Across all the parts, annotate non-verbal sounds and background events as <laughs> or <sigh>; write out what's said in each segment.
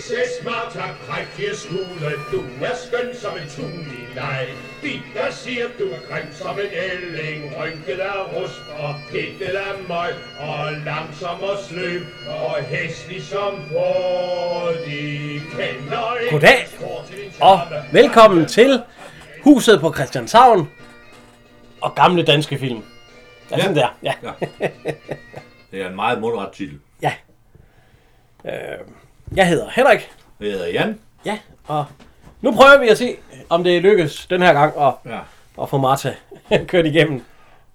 SS Marta, kræk fire skole, du er skøn som en tun i dig. De, der siger, du er grim som en ælling, rynket af rust oh, og pittet af møg, og langsom og sløv, og hæslig som på, de kender ikke Goddag, Ah. spor til din og charme. velkommen til Huset på Christianshavn og gamle danske film. Er ja. sådan der? Ja. Ja. Det er en meget mundret titel. ja. Øh, jeg hedder Henrik. Jeg hedder Jan. Ja, og nu prøver vi at se, om det lykkes den her gang at, Ja. at få Marta <laughs> kørt igennem.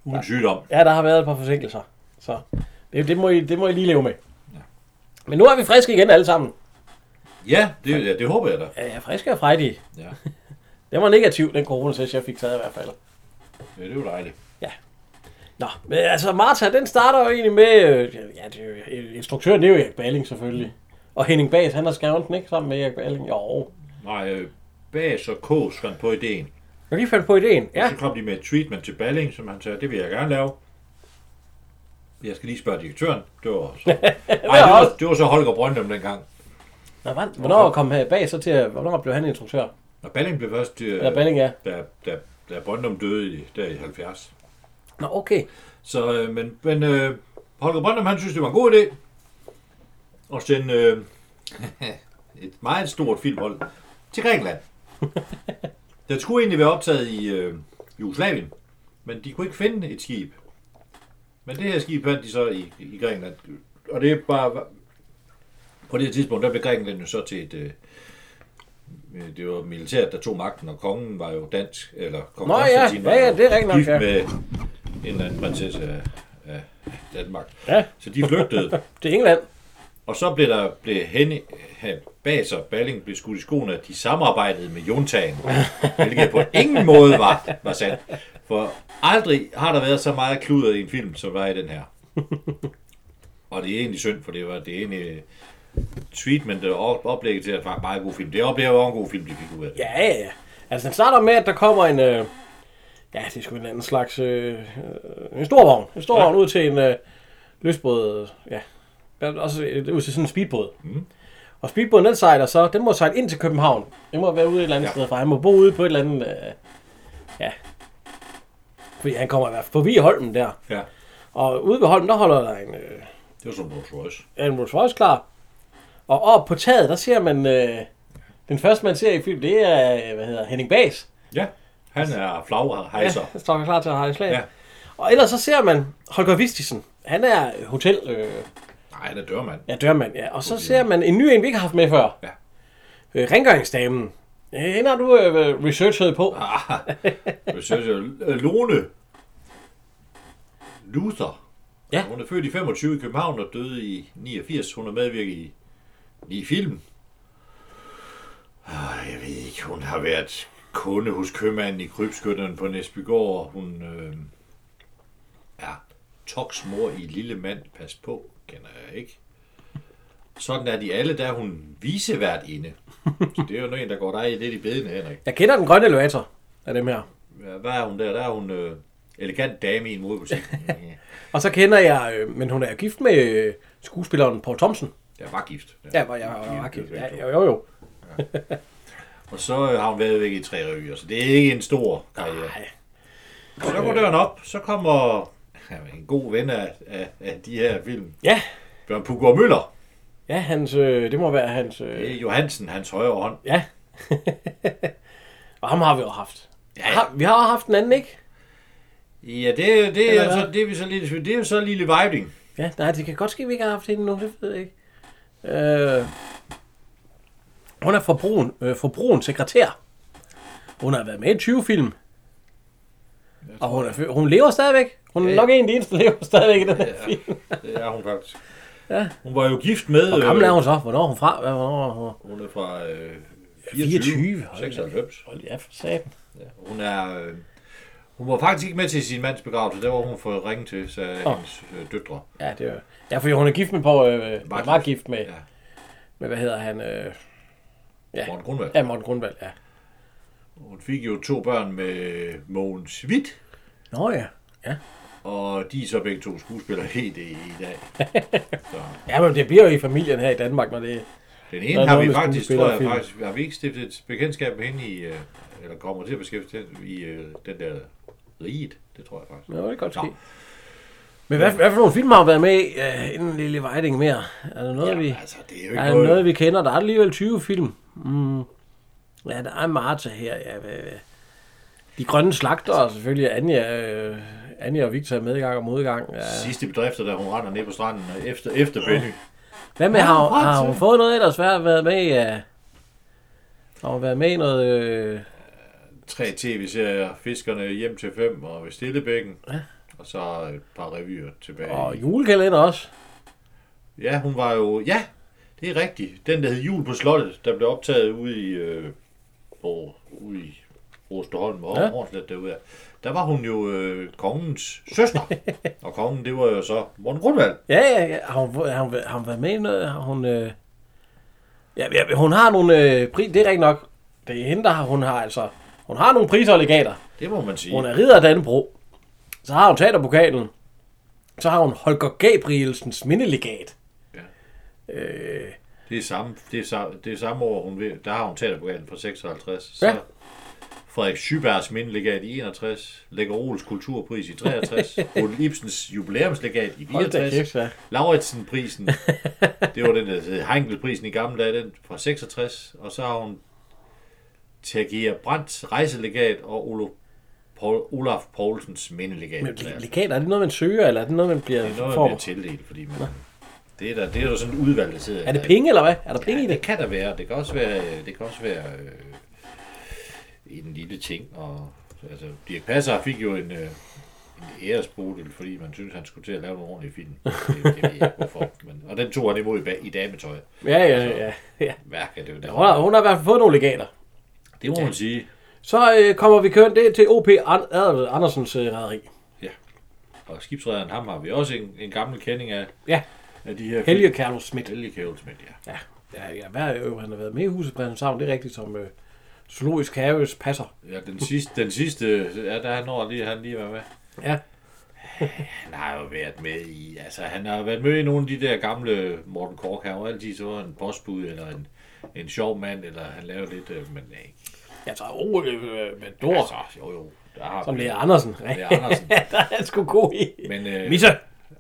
Uden sygdom. Ja, der har været et par forsinkelser. Så det, det, må, I, det må I lige leve med. Men nu er vi friske igen alle sammen. Ja, det, ja, det håber jeg da. Ja, ja, friske og frejdige. Ja. Den var negativ, den coronatest, jeg fik taget i hvert fald. Ja, det er jo dejligt. Nå, men altså Martha, den starter jo egentlig med, øh, ja, det er jo, øh, instruktøren det er jo Erik Balling selvfølgelig. Og Henning Bas, han har skrevet den, ikke? Sammen med Erik Balling. Jo, Nej, øh, Bas og K skrev på ideen. jeg lige fandt på ideen. Ja. Ja, Og så kom de med et treatment til Balling, som han sagde, det vil jeg gerne lave. Jeg skal lige spørge direktøren. Det var <laughs> så, Ej, det, var, det var så Holger Brøndum dengang. Nå, hvad- hvornår kom her Bas så til, at- hvornår blev han instruktør? Og Balling blev først, øh, Ja, Balling, ja. da, da, da Brøndum døde i, der i 70. Nå, okay. Så, øh, men, men øh, Holger Brøndum, han synes, det var en god idé at sende øh, <laughs> et meget stort filmhold <laughs> til Grækenland. Den skulle egentlig være optaget i øh, Jugoslavien, men de kunne ikke finde et skib. Men det her skib fandt de så i, i Grækenland. Og det er bare... På det her tidspunkt, der blev Grækenland jo så til et... Øh, øh, det var militæret, der tog magten, og kongen var jo dansk, eller kong Nå ja, Konstantin var ja, ja, jo det er rigtigt nok, gift ja. med en eller anden prinsesse af, af Danmark. Ja, Så de flygtede, det er England. og så blev der blev Henning, han, Baser og Balling blev skudt i skoene, at de samarbejdede med <laughs> Juntagen, hvilket på ingen måde var, var sandt. For aldrig har der været så meget kludret i en film, som der er i <laughs> den her. Og det er egentlig synd, for det var det er egentlig treatmentet og oplægget til, at det var en meget god film. Det oplever var en god film, de fik ud af det. Ja, ja, ja. Altså, den starter med, at der kommer en... Øh, ja, det er sgu en anden slags... Øh, øh, en stor vogn. En stor ja. vogn ud til en øh, løsbåd. øh, Ja. Der er Også øh, ud til sådan en speedbåd. Mm. Og speedbåden, den sejler så... Den må sejle ind til København. Den må være ude et eller andet ja. Ja. sted, for han må bo ude på et eller andet... Øh, ja. Fordi han kommer i hvert fald forbi Holmen der. ja. Og ude ved Holmen, der holder der en... Øh, Det var som Rolls Royce. en Rolls Royce klar. Og op på taget, der ser man... Øh, den første, man ser i film, det er, øh, hvad hedder, Henning Bas. Ja, han er flaghejser. Ja, står klar til at have slag. Ja. Ja. Og ellers så ser man Holger Vistisen. Han er hotel... Øh, Nej, han er dørmand. ja, dørmand, ja. Og så ser man en ny en, vi ikke har haft med før. Ja. Øh, rengøringsdamen. Øh, Hende har du øh, researchet på. Ja. Ah, jeg synes, jeg- Øh, Lone Luther. Ja. Hun er født i 25 i København og døde i 89. Hun har medvirket i ni film. Ah, Jeg ved ikke, hun har været kunde hos købmanden i krybskytteren på Næsbygård. Hun øh, er toksmor i Lille Mand. Pas på, kender jeg ikke. Sådan er de alle, der er hun visevært inde. Så det er jo en, der går dig lidt i bedene, Henrik. Jeg kender den grønne elevator af dem her. Ja, hvad er hun der? Der er hun øh, elegant dame i <laughs> en modebutik. Ja. Og så kender jeg... Øh, men hun er jo gift med øh, skuespilleren Paul Thomsen. jeg var gift. Ja, hvor jeg var gift. Ja, jo, jo, jo. Og så øh, har hun været væk i tre revyer, så det er ikke en stor karriere. Nej. Så går døren op, så kommer <laughs> ja, en god ven af, af, af de her film. Ja, Bjørn Puggaard Møller. ja hans, øh, det må være hans... Det Øh, er Johansen, hans højre hånd. ja. <laughs> og ham har vi jo haft. Ja. Har, vi har haft en anden, ikke? Ja, det, det, Eller er, hvad? så, det, er, vi så lidt, det er jo så lille vibing. Ja, nej, det kan godt ske, at vi ikke har haft hende endnu, det ved jeg ikke. Øh, hun er forbrugen, øh, forbrugens sekretær. Hun har været med i 20 film. Og hun, er, fø- hun lever stadigvæk. Hun er Ja, ja, ja. nok en af de eneste, der lever stadigvæk i den her film. Det er hun faktisk. Ja. Hun var jo gift med... Hvor gammel er øh, hun så? Hvornår er hun fra? Hvad- Hvornår er hun? Hun er fra øh, 24, 24, hold da. 96. Hold ja, for satan. Hun er... Øh, hun var faktisk ikke med til sin mands begravelse. Der var hun fået ringe til, sagde Åh. oh. hendes øh, døtre. Ja, det er Ja, fordi hun er gift med på... Øh, var, var gift med, Ja. med, hvad hedder han? Øh, Ja. Morten Grundvald. ja, Morten Grundvald, ja. Hun fik jo to børn med Mogens Witt, Nå ja. Ja, og de er så begge to skuespillere helt i, i dag. Så, ja men det bliver jo i familien her i Danmark, når det... Den Der er ene har vi nogle faktisk, skuespillere tror i jeg filmen. faktisk, har vi ikke stiftet et bekendtskab med hende i, øh, eller kommer til at beskæftige hende i øh, den der riget, det tror jeg faktisk. Nå, det kan godt Nå. ske. Men hvad, hvad for nogle film har været med i, uh, inden Lille Vejding mere? Er der noget, ja, vi, Jamen, altså, det er jo ikke er der noget, noget, vi kender? Der er alligevel 20 film. Mm. Ja, der er Marta her. Ja, hvad, hvad. De grønne slagter, og selvfølgelig Anja, øh, Anja og Victor er medgang og modgang. Ja. sidste bedrifter, der hun render ned på stranden øh, efter, efter Benny. Hvad med, har, Martha. har hun fået noget ellers? Hvad har været med i? Uh, har hun været med i noget... Øh, Tre tv-serier, Fiskerne hjem til fem og ved Stillebækken. Ja. Og så et par revyer tilbage. og julekalender også? Ja, hun var jo... Ja, det er rigtigt. Den, der hed Jul på Slottet, der blev optaget ude i... Øh, på, ude i Osterholm og Ja. ja. Hornslet derude. af. Der var hun jo øh, kongens <laughs> søster. og kongen, det var jo så Morten Grundvald. Ja, ja, ja. Har hun, har hun, har hun været med i noget? Har hun... Øh... Ja, ja, hun har nogle øh, pri- Det er rigtigt nok. Det er hende, der har, hun har altså... Hun har nogle priser og legater. Det må man sige. Hun er ridder af Dannebro. Så har hun teaterpokalen. Så har hun Holger Gabrielsens mindelegat. Det er samme, det er samme, det er samme år, hun ved, der har hun teaterpokalen fra 56. Ja. Så Frederik Schybergs mindelegat i 61, Lækker Oles kulturpris i <laughs> 63, Ole Ibsens jubilæumslegat i Hold da 64, kæft, ja. <laughs> Lauritsen-prisen, det var den, der hed Heinkel-prisen i gamle dage, den fra 66, og så har hun Tagia Brandts rejselegat og Olof Paul, Olaf Poulsens mindelegat. Men Ja. le- legater, er det noget, man søger, eller er det noget, man bliver... Det er noget, får? man bliver tildelt, fordi man, det er der, det er der sådan et udvalg, der sidder. Er det penge, eller hvad? Er der penge i Ja, det? det kan der være. Det kan også være, det kan også være øh, en lille ting. Og, altså, Dirk Passer fik jo en, øh, en æresbodel, fordi man synes han skulle til at lave nogle ordentlige film. Det, det ved jeg ikke, hvorfor. Men, og den tog han imod i, ba- i dametøj. Ja, ja, ja. Altså. ja. Værk er det jo der. Hun, har, hun har i hvert fald fået nogle legater. Det må man sige. Så øh, kommer vi kørende det til O.P. An- Ad- Andersens øh, rederi. Og skibsrederen, ham har vi også en, en gammel kending af, Ja, af de her Helge Carlos Schmidt. Helge Kjælsmænd, ja. Ja, ja, ja hver øv, han har været med i huset Brændshavn, det er rigtigt som øh, zoologisk haves passer. ja. den sidste, den sidste ja, der han når lige, han lige var med. Ja. Han har jo været med i, altså han har været med i nogle af de der gamle Morten Kork, han har jo altid så var en postbud eller en, en sjov mand, eller han lavede lidt, øh, men nej. Altså, oh, øh, med Dor, Altså, jo jo, der har som vi- Lea Andersen. <laughs> Ja, Lea Andersen. der er han sgu god i. Men øh, Misse!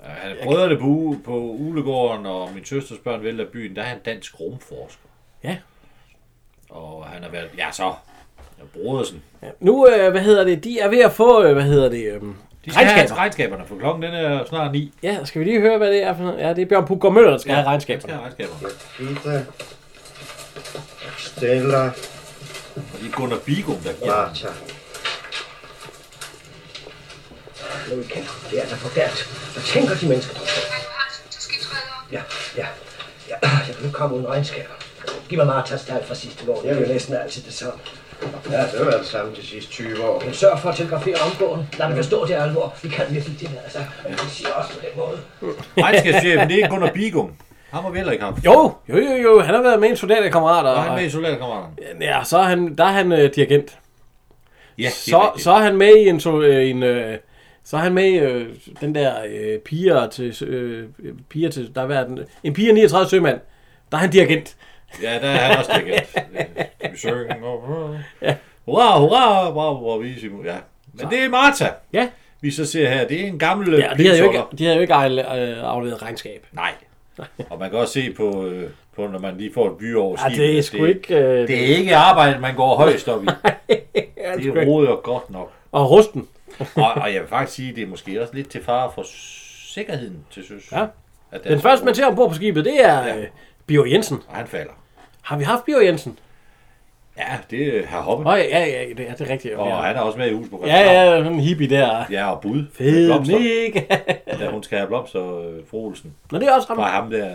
han brødrene på, U- på Ulegården, og min søsters børn vælter byen, der er han dansk rumforsker. Ja. Og han har været, ja så, Brodersen. ja. Nu, øh, hvad hedder det, de er ved at få, øh, hvad hedder det, øh, De skal regnskaber. have regnskaberne, for klokken den er snart ni. Ja, skal vi lige høre, hvad det er for noget? Ja, det er Bjørn Puggaard Møller, der skal ja, have De skal regnskaberne. have regnskaberne. Widzę. Stella Og det er Gunnar Bigum, der giver dem. Marcia. Nu igen. Det er da forfærdeligt. Hvad tænker de mennesker? Ejner Hansen til skibsredder. Ja, ja. ja. Jeg kan ikke komme uden regnskaber. Giv mig Martas tal fra sidste år. Det er jo næsten altid det samme. Ja, det har været det samme de sidste 20 år. Men sørg for at telegrafere omgående. Lad mig forstå det er alvor. Vi kan virkelig det her. Altså, vi siger også på den måde. Regnskabschefen, det er Gunnar Bigum. Ham har vi heller ikke haft. Jo, jo, jo, jo, han har været med i en soldaterkammerat, og, Og han er med i soldaterkammeraterne. ja, så er han, der er han øh, dirigent. Ja, det er så, rigtigt. så er han med i en, så, øh, en øh, så er han med i øh, den der øh, piger til øh, piger til der er den, en piger 39 sømand. Der er han dirigent. Ja, der er han også dækket. <laughs> Vi synger. Hurra, hurra, bravo, bravissimo. Ja. Men det er Marta. Ja. Vi så ser her, det er en gammel Ja, de havde jo ikke pigtolder. de havde jo ikke afle- øh, afleveret regnskab. Nej. Og man kan også se på, øh, på når man lige får et by over Ja, det er at sgu ikke øh, Det er ikke arbejde, man går højst <laughs> op i. det Det roder godt nok. og rusten. Og, og jeg vil faktisk sige, det er måske også lidt til fare for sikkerheden til søs. Ja. At Den første man ser ombord på skibet, det er øh, Bio Jensen. Og han falder. Har vi haft Bio Jensen? Ja, det er herr Hoppe. Åh ja, ja, ja, det er, det er rigtigt. Og ja. han er også med i hus på ja, ja, sådan en hippie der. Ja, og bud. Fed Blomster. mega. Da hun skal have blomster, øh, fru Olsen. Nå, det er også Fra ham. ham der,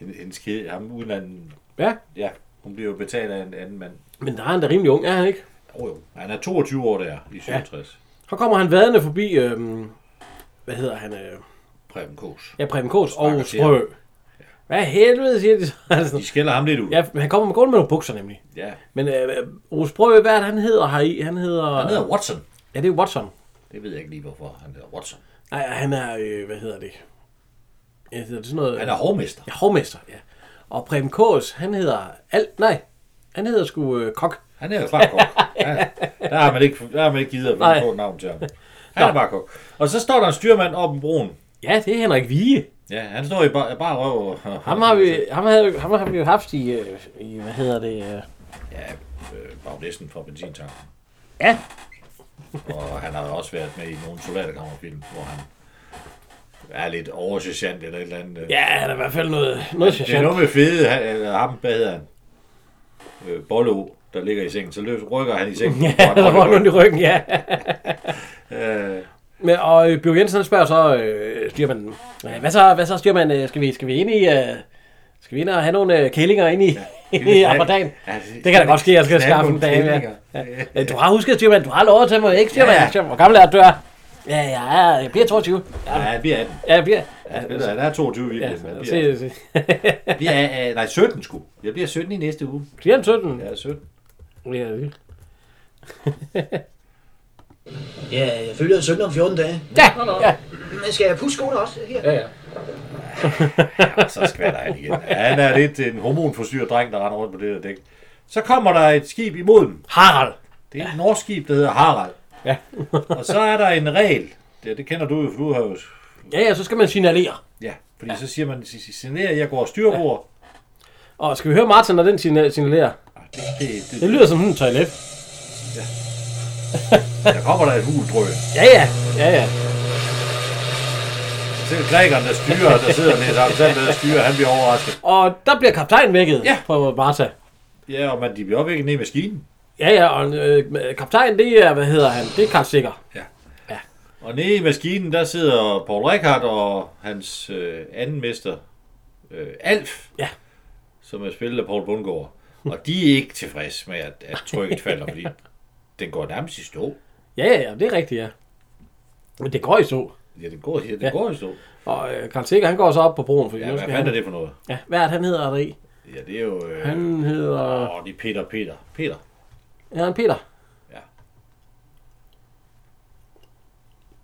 øh, hendes kæde, ham udlanden, Ja, ja, hun bliver jo betalt af en anden mand. men der er han da rimelig ung, er han ikke? Jo, jo. Han er 22 år der, i 67. Ja. Så kommer han vadende forbi, øhm, hvad hedder han? Øh, Preben Kås. ja, Preben Kås og Snakker til Strø. Hvad helvede, siger de så? <laughs> Altså, De skælder ham lidt ud. ja, men han kommer med gående med nogle bukser nemlig. ja. Men øh, Ole Sprø, hvad er det, han hedder her i? Han hedder... Han hedder Watson. Ja, det er Watson. Det ved jeg ikke lige, hvorfor han hedder Watson. Nej, han er... Øh, hvad hedder det? Ja, det er sådan noget... Han er hovmester. Ja, hovmester, ja. Og Prem Kås, han hedder... Al, nej, han hedder sgu øh, Kok. Han er jo bare kok. Ja, der har man ikke, der har man ikke givet at Nej. finde på et navn til ham. Han er bare kok. Og så står der en styrmand oppe i broen. Ja, det er Henrik Vige. Ja, han står i bare, bare røv. og- Ham har vi, ham havde, ham har vi jo haft i, øh, i hvad hedder det... Øh, Ja, øh, bagnæsten fra benzintanken. ja, Og han har også været med i nogle soldaterkammerfilm, hvor han er lidt oversociant eller et eller andet. øh. ja, han er i hvert fald noget, noget Det er sjovt. noget med fede, han, eller ham, hvad hedder han? Øh, Bollo, der ligger i sengen. Så løs, rykker han i sengen. <laughs> Ja, der var nogen i ryggen, ja. Øh, Men, og øh, Bjørn Jensen han spørger så øh, styrmanden, "Øh, hvad så, hvad så styrmand, øh, skal vi, skal vi ind i, øh, skal vi ind og have nogle øh, kællinger ind i, <laughs> ja, <laughs> i Ammerdagen? Ja, Det kan da godt ske, jeg skal skaffe en dame. Ja. Ja. Øh, Du har husket, styrmand, du har lovet til mig, ikke styrmand? Ja. Ja. Hvor gammel er du? er? Ja, jeg, er, jeg bliver 22. Ja, Ja, vi er 18. ja, jeg bliver... Ja, ved du, han er 22 i Ja, virkeligheden. se, men Jeg se, <laughs> se. bliver, vi er, øh, nej, 17 sgu. Jeg bliver 17 i næste uge. Bliver han 17? Jeg er 17. Ja, det er vildt. Ja, jeg følger søndag om 14 dage. Ja, ja, Men skal jeg pusse skoene også her? ja, ja. Ja, så skvatter han igen. Ja, han er lidt en hormonforstyrret dreng, der render rundt på det der dæk. Så kommer der et skib imod dem. Harald. Det er et norsk skib, der hedder Harald. Ja. Og så er der en regel. Det, det kender du jo, for du har jo... Ja, ja, så skal man signalere. Ja, fordi så siger man, signerer, jeg går styrbord. Og skal vi høre Martin, når den signa- signalerer? Ah, Det, det, Det det, lyder som sådan en toilet. der kommer der et huldrøg. Ja, ja, ja, ja. Selv grækeren, der styrer, der sidder lidt sammen, selv der styrer, han bliver overrasket. Og der bliver kaptajnen vækket Ja. på Martha. Ja, og man, de bliver opvækket ned i maskinen. Ja, ja, og øh, kaptajnen, det er, hvad hedder han? Det er Karl Sikker. Og nede i maskinen, der sidder Paul Rickard og hans øh, anden mester, øh, Alf, Ja. som er spillet af Paul Bundgaard. Og de er ikke tilfredse med, at, at trykket falder, fordi den går nærmest i stå. Ja, ja, ja, det er rigtigt, ja. Men det går i så. Ja, den går, ja, den Ja. går i stå. Og øh, Karl Sikker, han går så op på broen, fordi Ja, nu hvad skal fanden er han... det for noget? Ja, hvad er det, han hedder der i? Ja, det er jo... Øh, Han hedder... Åh, det er Peter, Peter. Peter. Ja, han Peter.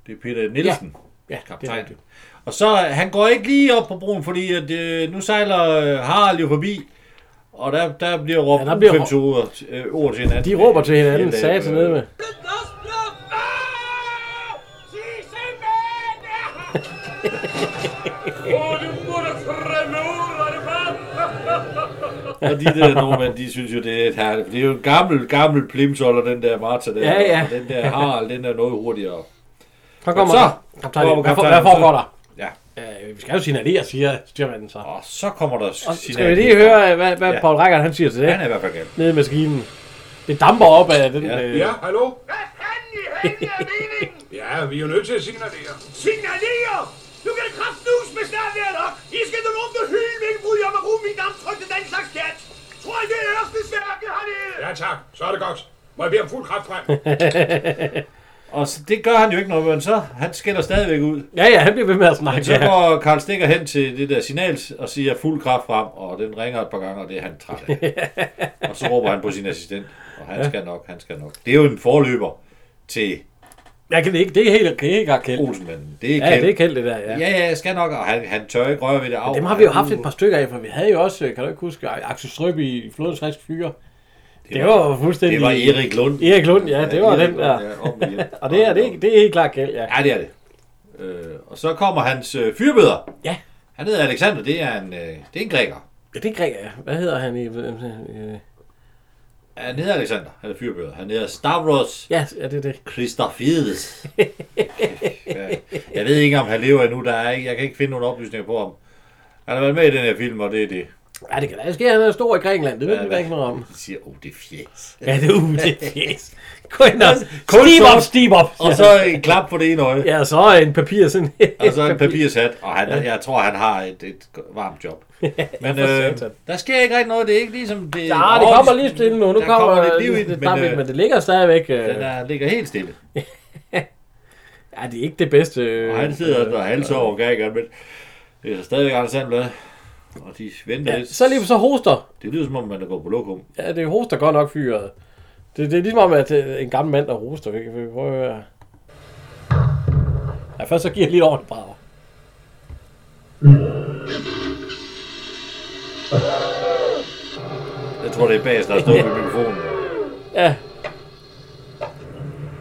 Det er Peter Nielsen. Ja, det er kaptajn. rigtigt. Og så, øh, han går ikke lige op på broen, fordi at, øh, nu sejler øh, Harald jo forbi, og der, der bliver råbt Ja, der ja, bliver bliver 5 ord, øh, ord til hinanden. De råber til hinanden, Ja, det- sagde til nede med. Og de der nordmænd, de synes jo, det er et herligt. for Det er jo en gammel, gammel plimsoller, den der Martha der. Ja, ja. Og den der Harald, den er noget hurtigere. Så kommer Så så, kaptajnen. kommer Hvad, for, kaptajnen. hvad foregår der? Ja. Øh, vi skal jo signalere, siger styrmanden så. Og så kommer der Og signal. skal vi lige høre, øh, hvad, hvad Ja. Paul Reichardt han siger til det? Han er i hvert fald gal. Nede i maskinen. Det damper op af den... Ja. øh, Ja, hallo? Hvad fanden i helvede er meningen? <laughs> Ja, vi er jo nødt til at signalere. Signalere! Nu kan det kraftnus med snart være nok! I skal nu åbne hylden, hvilken brud jeg må bruge min damptryk til den slags kat! Tror I, det er Ørstensværket hernede? Ja, tak. Så er det godt. Må jeg bede om fuld kraft frem? Og så, det gør han jo ikke noget, men så han skælder stadigvæk ud. Ja, ja, han bliver ved med at snakke. Så går Karl Stikker hen til det der signal og siger fuld kraft frem, og den ringer et par gange, og det er han træt af. <laughs> og så råber han på sin assistent, og han skal nok, han skal nok. Det er jo en forløber til Jeg kan det ikke, det er helt, det er helt godt Kjeld. Olsenmanden. Det Ja, er det er Kjeld. Kjeld, det der, ja. Ja, ja, jeg skal nok, og han, han tør ikke røre ved det af. Dem har vi jo haft et par stykker af, for vi havde jo også, øh, kan du ikke huske, Axel Strøb i Flodens Rest Fyre. Det var jo fuldstændig... Det var Erik Lund. Erik Lund, ja, det var den der. Og det er, det, er- ikke. det er helt klart Kjeld, ja. Ja, det er det. Øh, og så kommer hans øh, fyrbøder. Ja. Han hedder Alexander, det er en, øh, det er en græker. Ja, det er Græk, ja. Hvad hedder han i... øh, øh, Han hedder Alexander, han er fyrbøder. Han hedder Stavros Ja, ja, det er det. Christofides. ja. Jeg ved ikke, om han lever endnu. Der er ikke, jeg kan ikke finde nogen oplysninger på ham. Han har været med i den her film, og det er det. Ja, det kan da ske, han er stor i Grækenland. Det ved Ja, vi hvad? da ikke noget om. De siger, åh, oh, det er fjes. Ja, det er uh, <laughs> det er pis. Gå ind og... Kun Steam så- op, steam op! Og så en klap på det ene øje, Ja, så er en papir sådan... og så en papirshat. Og han, jeg tror, han har et, et varmt job. Men øh, satan. der sker ikke rigtig noget. Det er ikke ligesom... Det, Ja, det kommer lige stille nu. Nu Der kommer, kommer lidt det, liv i det, den, det, men, men, øh, men det ligger stadigvæk... Øh, Den er, ligger helt stille. ja, det er ikke det bedste... Øh, Og han sidder og halsover grækeren, men det er stadigvæk Anders Sandblad. Og de venter Ja, lidt. så lige så hoster. Det lyder som om, man er gået på lokum. Ja, det er hoster godt nok fyret. Det, det er ligesom om, at øh, en gammel mand, der hoster. Vi kan vi kan prøve at høre. Ja, først så giver jeg lige et ordentligt brag. Jeg tror, det er bags, der har stået ved mikrofonen. Ja.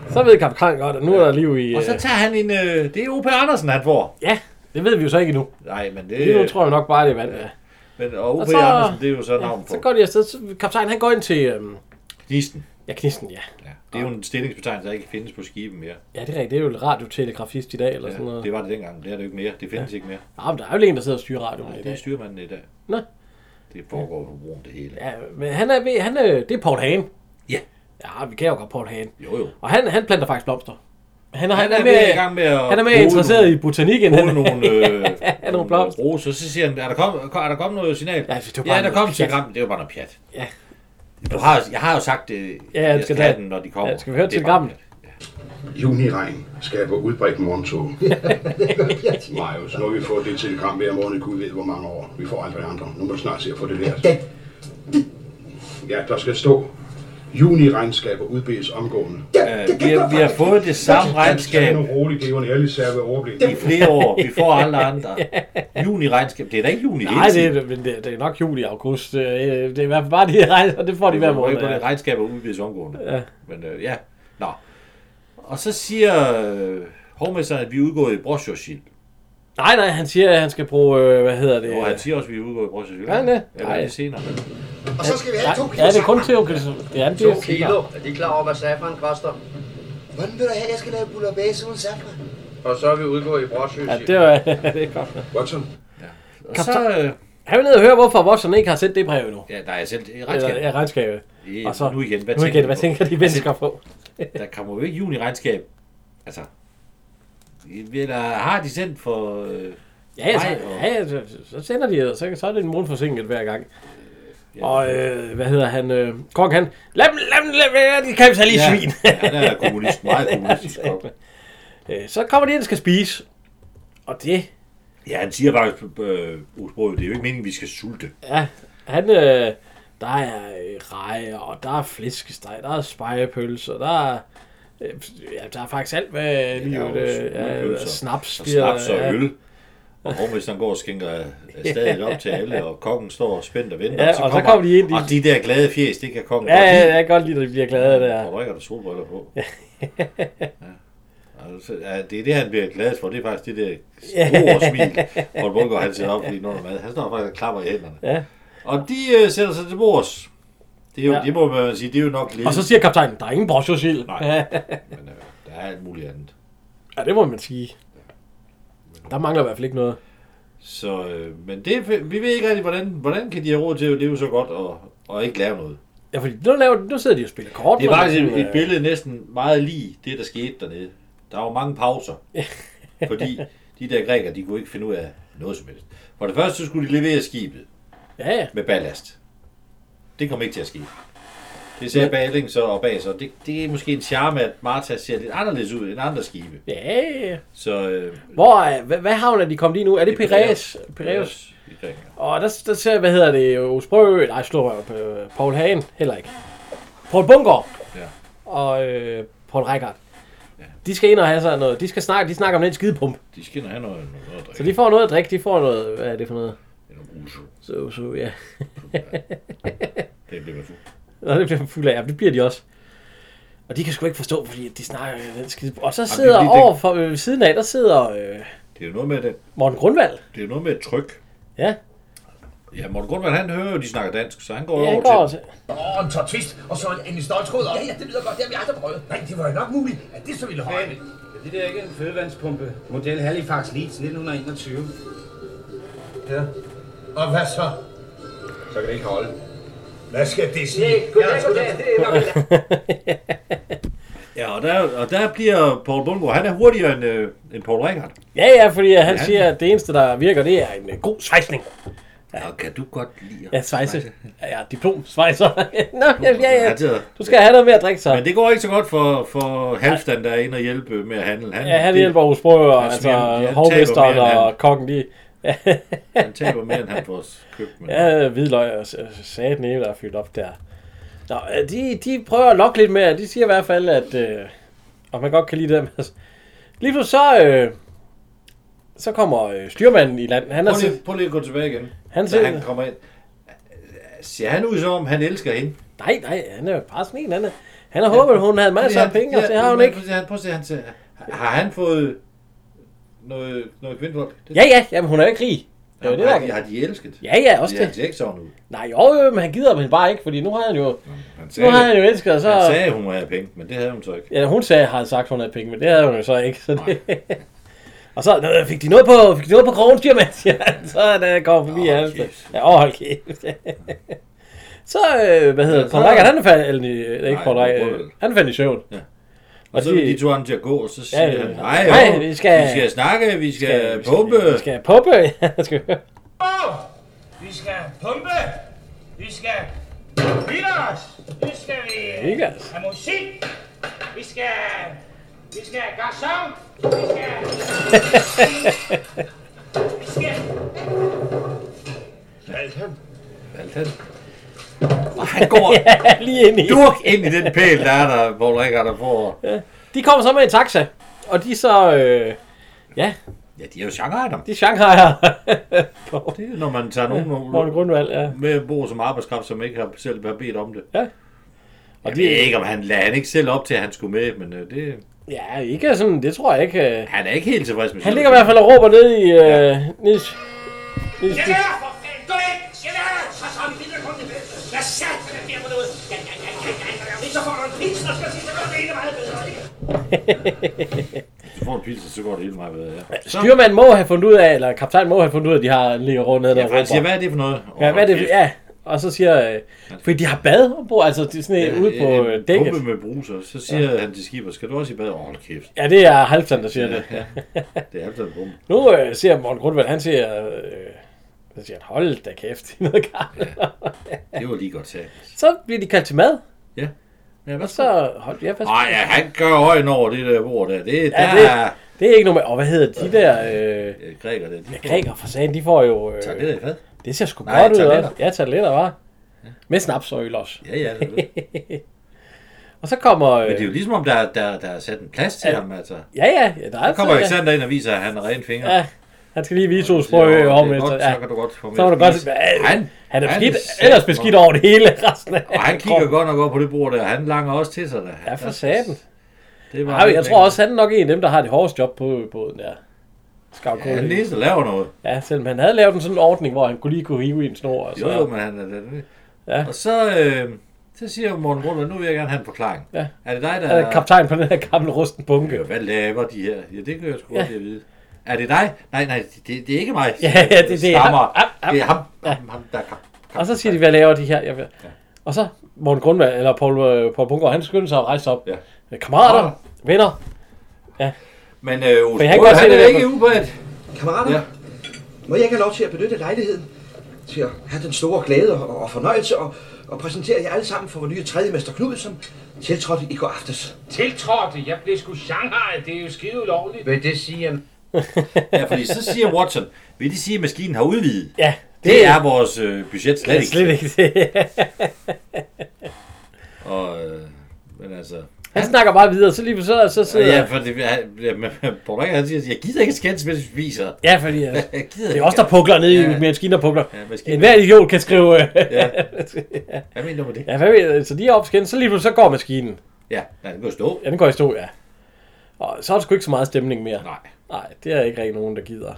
Så ved kaptajn godt, at nu er der liv i... Og så øh, tager han en... Øh, det er O.P. Andersen, han får. ja, det ved vi jo så ikke endnu. Nej, men det... Lige nu tror jeg nok bare, det er vand. Ja. Men, og O.P. Og så- Andersen, det er jo så navn på. Så går de afsted. Så kaptajn, han går ind til... Øhm, Knisten. ja, Knisten, ja. Ja. Det Ah. er jo en stillingsbetegnelse, der ikke findes på skiben mere. Ja, det er rigtigt. Det er jo radiotelegrafist i dag, eller ja, sådan Ja, noget. det var det dengang. Det er det jo ikke mere. Det findes ja. ikke mere. Ja, men der er jo en, der sidder og styrer radioen Nej, i det er dag. styrmanden i dag. Nå. Det foregår på broen, det hele. Ja, men han er, ved, han er, det er Paul Hagen. Ja. Ja, vi kan jo godt Paul Hagen. Jo, jo. Og han, han planter faktisk blomster. Han, han, Han er han er, mere i med, gang med at... han er mere bruge interesseret nogle- i botanik, <laughs> end bruge han nogle, øh, er nogle blomster. roser. Så siger han, er der kommet, er der kommet noget signal? Ja, det var ja bare der noget kom et pjat. telegram. Det var bare noget pjat. Ja. Du har, jeg har jo sagt, det, Ja, jeg du skal skal have tage- den, når de kommer. ja, skal vi høre Det er telegrammet? bare- Juniregn skaber udbredt morgentog. <laughs> Marius, nu har vi fået det telegram hver morgen, kunne ved hvor mange år. Vi får aldrig andre. Nu må du snart se at få det lært. Ja, der skal stå. Juniregn skaber udbedes omgående. Øh, vi, har, vi har fået det samme regnskab Nu roligt, det er jo en ærlig sag ved overblik. i flere år. Vi <laughs> får alle andre. Juni-regnskab. Det er da ikke juni Nej, det er, men det, det er nok juli og august. Øh, Det er i hvert fald bare de her rejser, og det får de hver måned. På det Ja. regnskab er udvides omgående. Ja. Men øh, ja, nå. Og så siger øh, hovmesteren, at vi er udgået i Brosjorsild. Nej, nej, han siger, at han skal bruge, øh, hvad hedder det? Og han siger også, at vi er udgået i Brosjorsild. Gør han det? Eller er Nej. det senere? Og så skal vi nej, ja, det er kun til okay, så- det er en To del. kilo. Er de klar over, hvad safran koster? Hvordan vil du have, at jeg skal lave bouillabaisse uden safran? Og så er vi udgået i brosjøs. Ja, det var, <laughs> det er godt. Watson, Og så, øh, Han vil ned og høre, hvorfor Watson ikke har sendt det brev endnu. ja, der er selv det er Eller, regnskab. ja, regnskabet. Øh, Og så, nu igen, hvad nu tænker igen, du hvad på? tænker de mennesker på? Der kommer jo ikke juni-regnskab. Altså, eller har de sendt for... Øh, Ja, ja, så, Nej, og- ja, ja, så, så sender de, og så, så er det en måned forsinket hver gang. Og øh, hvad hedder han? Øh, Kong han, lad dem, lad dem, lad dem, lad dem, de kapitalistiske ja, svin. ja, han er kommunist, meget <laughs> kommunistisk. kok. Øh, så kommer de ind og skal spise. Og det, Ja, han siger faktisk, øh, Osbro, det er jo ikke meningen, vi skal sulte. ja, han, øh, der er øh, rejer, og der er flæskesteg, der er spejepølser, der er, øh, ja, der er faktisk alt, hvad lige der er ja, jo øh, ja, smulepølser, snaps, Og bliver- snaps og ja, øl. <laughs> Og hovmesteren går og skænker stadig op til alle, og kongen står spændt og venter. Ja, og så kommer de ind i- Og de der glade fjes, det kan kongen Ja, godt lide. ja, jeg kan godt lide, at de bliver glade Og der. drikker der solbriller på. ja. Altså, ja, det er det, han bliver glad for. Det er faktisk det der store smil, hvor Bunker han sætter op lige under mad. Han står faktisk og klapper i hænderne. Ja. Og de øh, sætter sig til bords. Det, er jo, Ja. ja. det må man sige, det er jo nok lidt. Og så siger kaptajnen, der er ingen brosjosild. Nej. Ja, Men øh, der er alt muligt andet. ja, det må man sige. Der mangler i hvert fald ikke noget. Så, øh, men det, er- vi ved ikke rigtig, hvordan, hvordan kan de have råd til at leve så godt og, og ikke lave noget. Ja, fordi nu, laver, nu sidder de og spiller kort. Det er og faktisk sådan, et, et øh, billede næsten meget lige det, der skete dernede. Der var mange <laughs> pauser, fordi de der grækere, de kunne ikke finde ud af noget som helst. For det første så skulle de levere skibet Ja, ja. med ballast. Det kom ikke til at ske. Det sagde Baling så og bag så. Det, det er måske en charme, at Marta ser lidt anderledes ud end andre skibe. Ja, ja. Så øh, Hvor er, hvad, hvad havn er de kommet i nu? Er det, Det er Piraeus? Piraeus. Piraeus i Grækenland. Og der, der ser, hvad hedder det, Osbrø, nej, slår jeg på øh, Paul Hagen, heller ikke. Paul Bunker Ja. og øh, Paul Reichardt. De skal ind og have sådan noget. De skal snakke, de snakker om den skidepump. De skal nok have noget, noget at drikke. Så de får noget at drikke, de får noget, hvad er det for noget? Eller bruso. Så, så ja. <laughs> Det bliver man fuld. Nå, det bliver fuld af. Ja, det bliver de også. Og de kan sgu ikke forstå, fordi at de snakker øh, den skide... Og så er sidder fordi, det- over for, øh, ved siden af, der sidder øh, Det er jo noget med, det, Morten Grundvald. det er jo noget med et tryk. Ja, Ja, Morten Grundvald, han hører jo, de snakker dansk, så han går ja over han går til... også. <laughs> Åh, en tår twist, og så en, en stoltråd op. Ja, ja, det lyder godt. Det har vi aldrig prøvet. Nej, det var jo nok muligt, at det så ville holde. Det der er ikke en fødevandspumpe. Model Halifax Leeds 1921. Ja. Og hvad så? Så kan det ikke holde. Hvad skal det sige? Goddag, goddag. Det er nok Ja, og der, og der bliver Paul Bundgaard, han er hurtigere end, øh, end Paul Rikard. Ja, ja, fordi han Ja. siger, at det eneste, der virker, det er en øh, god svejsning. Ja, kan du godt lide at Ja, svejse. Ja, ja diplom, <laughs> svejser. Nå, ja, ja, Ja, ja. det er- Du skal have noget mere at drikke, så. Men det går ikke så godt for, for Halfdan, der er inde og hjælpe med at handle. Han, Ja, han det- hjælper hos Brøger, Han altså smiler- han taber hovmesteren mere, end han- og kokken, de... Han taber mere, end han får købt. Men... Ja, hvidløg og sat næve, der er fyldt op der. Nå, øh, de, de prøver at lokke lidt med, og de siger i hvert fald, at øh, og man godt kan lide det med. <laughs> Lige pludselig så, øh, så kommer øh, styrmanden i land. Han er Prøv, til, lige, prøv lige at gå tilbage igen. Han Da siger- han kommer ind. Ser han ud som om, han elsker hende? Nej, nej, han er bare sådan en. Han, er, han har håbet, hun havde masser af penge, og det har hun men ikke. Prøv at se, han, prøv at se, han ser, har han fået noget, noget kvindevold? Det, Ja, ja, jamen hun er jo ikke rig. Det er jo Jamen, det, der har, er de, godt. har de elsket? Ja, ja, også det. Han det. ser ikke sådan ud. Nej, jo, jo, men han gider dem bare ikke, fordi nu har han jo, nu Han sagde, har han jo elsket, og så... han sagde, hun havde penge, men det havde hun så ikke. Ja, hun sagde, har sagt, hun havde penge, men det havde hun jo så ikke. Så det... <laughs> og så "Nå, fik de noget på, fik de noget på krogen, siger man, siger han. Så er det kommet forbi Åh, oh, kæft. Ja, åh, hold kæft. <laughs> så, øh, hvad hedder Ja, det, så- Paul Reichert, han fandt, eller, øh, ikke Nej, Paul det Reichert, var øh, Brødel. han fandt i søvn. Ja. Og Og så de, vil de to ham til at gå, og så siger Ja, ja, ja. han, nej, Nej, jo, vi skal- vi skal snakke, vi skal, skal, pumpe. Skal, skal jeg pumpe? <laughs> Ja, skal vi- Vi skal pumpe. Vi skal hygge os. Vi skal vi Hygge altså. os. have musik. Vi skal... Vi skal have garçon. Vi skal... vi skal... Valgte han. Og han går <laughs> ja, lige ind i. durk ind i den pæl, der er der, hvor Rikard der får. De kommer så med en taxa, og de er så, øh, ja, Ja, de er jo genre dem. de er Shanghai'er. <laughs> på Det er, når man tager nogen Morten nogen Grundvald, ja. med at bo som arbejdskraft, som ikke har selv har bedt om det. Og Jeg ved ikke, om han lader han ikke selv op til, at han skulle med, men øh, det, ja, ikke sådan, det tror jeg ikke. øh. han er ikke helt tilfreds med Han situationen. ligger i hvert fald og råber ned i... Øh, ned, ned, Jeg lærer for fanden. Gå væk. Jeg lærer. Så så vi videre kom det med. Hvad sat er der på noget? Ja, ja, ja, ja, ja, ja. Hvis så får du en pils, der skal sige, så gør det hele meget bedre. ikke? Du får en pilsen, så går det hele meget bedre. Ja. Så, Styrmanden må have fundet ud af, eller kaptajnen må have fundet ud af, at de har ligger rundt ned der. ja, for han siger, hvad? hvad er det for noget? Ja, hvad er det? Åh, Ja, og så siger... Øh, fordi de har bad ombord, altså de er sådan kæft. øh, ude på En øh, dækket. Pumpe med bruser. Så siger han til skibet, skal du også i bad? Åh, hold kæft. Ja, det er Halvdan, der siger det. Ja, det er altid en pumpe. Nu øh, ser Morten Grundvald, han siger... Øh, så siger han, hold da kæft, det er noget gammelt. Det var lige godt sagt. <laughs> Så bliver de kaldt til mad, Ja. Ja, hvad og så hold jeg fast. Ej, ja, han gør øjen over det der bord der. Det, ja, der det- det... er Det er ikke noget med... Og hvad hedder de der... Øh, ja, græker, det. De får- Græker for sagen, de får jo... Øh, Tager det der i fad? Det ser sgu Nej, godt ud tabletter. også. Ja, tabletter, var. Med snaps og øl også. Ja, ja, det er det. Og så kommer... Men det er Øh, jo ligesom om, der, der, der er sat en plads til Ja. ham, altså. ja, ja, ja, der er Der kommer altid- Alexander ind og viser, at han har rene fingre. Ja, han skal lige vise to Siger, "Åh, det sprøge er over godt, med. Så Ja, kan du godt få så må du mere godt... at spise." Ja, Han, han er han beskidt, sat ellers mig. beskidt over det hele resten af Og han kigger godt nok op på det bord der. Han langer også til sig der. Ja, for satan. Det var Ej, jeg tror også, han er nok en af dem, der har det hårdeste job på båden der. Scout Ja, han er den ja, eneste, der laver noget. ja, selvom han havde lavet en sådan ordning, hvor han kunne lige kunne hive i en snor. Og så. Jo, jo, men han er den. Ja. Og så, øh, så siger Morten Grundvald, nu vil jeg gerne have en forklaring. Ja. Er det dig, der... Han er kaptajn på den her gamle rusten bunke. Ja, hvad laver de her? Ja, det kan jeg sgu ja. godt lide at vide. Er det dig? Nej, nej, det, det er ikke mig. Ja, ja, det- det er Stammer. ham. Ham, ham. Det er ham, ham, ham der kom. Og så siger de, hvad laver de her? Jeg ved. Ja. Og så Morten Grundvald, eller Paul, øh, Paul Bunker, han skyndte sig at rejse sig op. Ja. Øh, Kammerater, Kammerater. venner. Men øh, Ole Men jeg kan Sprogøe, godt se han det er der ikke med- ude på et. Kammerater, Ja. ja. må jeg ikke have lov til at benytte lejligheden til at have den store glæde og, og fornøjelse og, og præsentere jer alle sammen for vores nye tredje mester Knud, som tiltrådte i går aftes. Tiltrådte. Jeg blev sgu Shanghai. Det er jo skide ulovligt. Vil det sige, at Ja, fordi så siger Watson, vil det sige, at maskinen har udvidet? Ja, Det, det er vores øh, budget slet det er ikke. slet ikke <laughs> det. Og, øh, men altså... han snakker bare videre, så lige på så, så sidder Ja, ja, for det, han, ja, men Paul Rikker, han siger, jeg gider ikke skændes, mens vi spiser. ja fordi altså, <laughs> Jeg gider det er også der pukler nede Ja. i maskinen, der pukler. Ja, maskinen. En hver idiot kan skrive... øh, <laughs> Ja. Hvad mener du med det? ja, hvad ved jeg, så de er opskændt, så lige pludselig så går maskinen. Ja, nej, det går stå. Ja, den går i stå, ja. Og så er der sgu ikke så meget stemning mere. Nej. Nej, det er ikke rigtig nogen, der gider.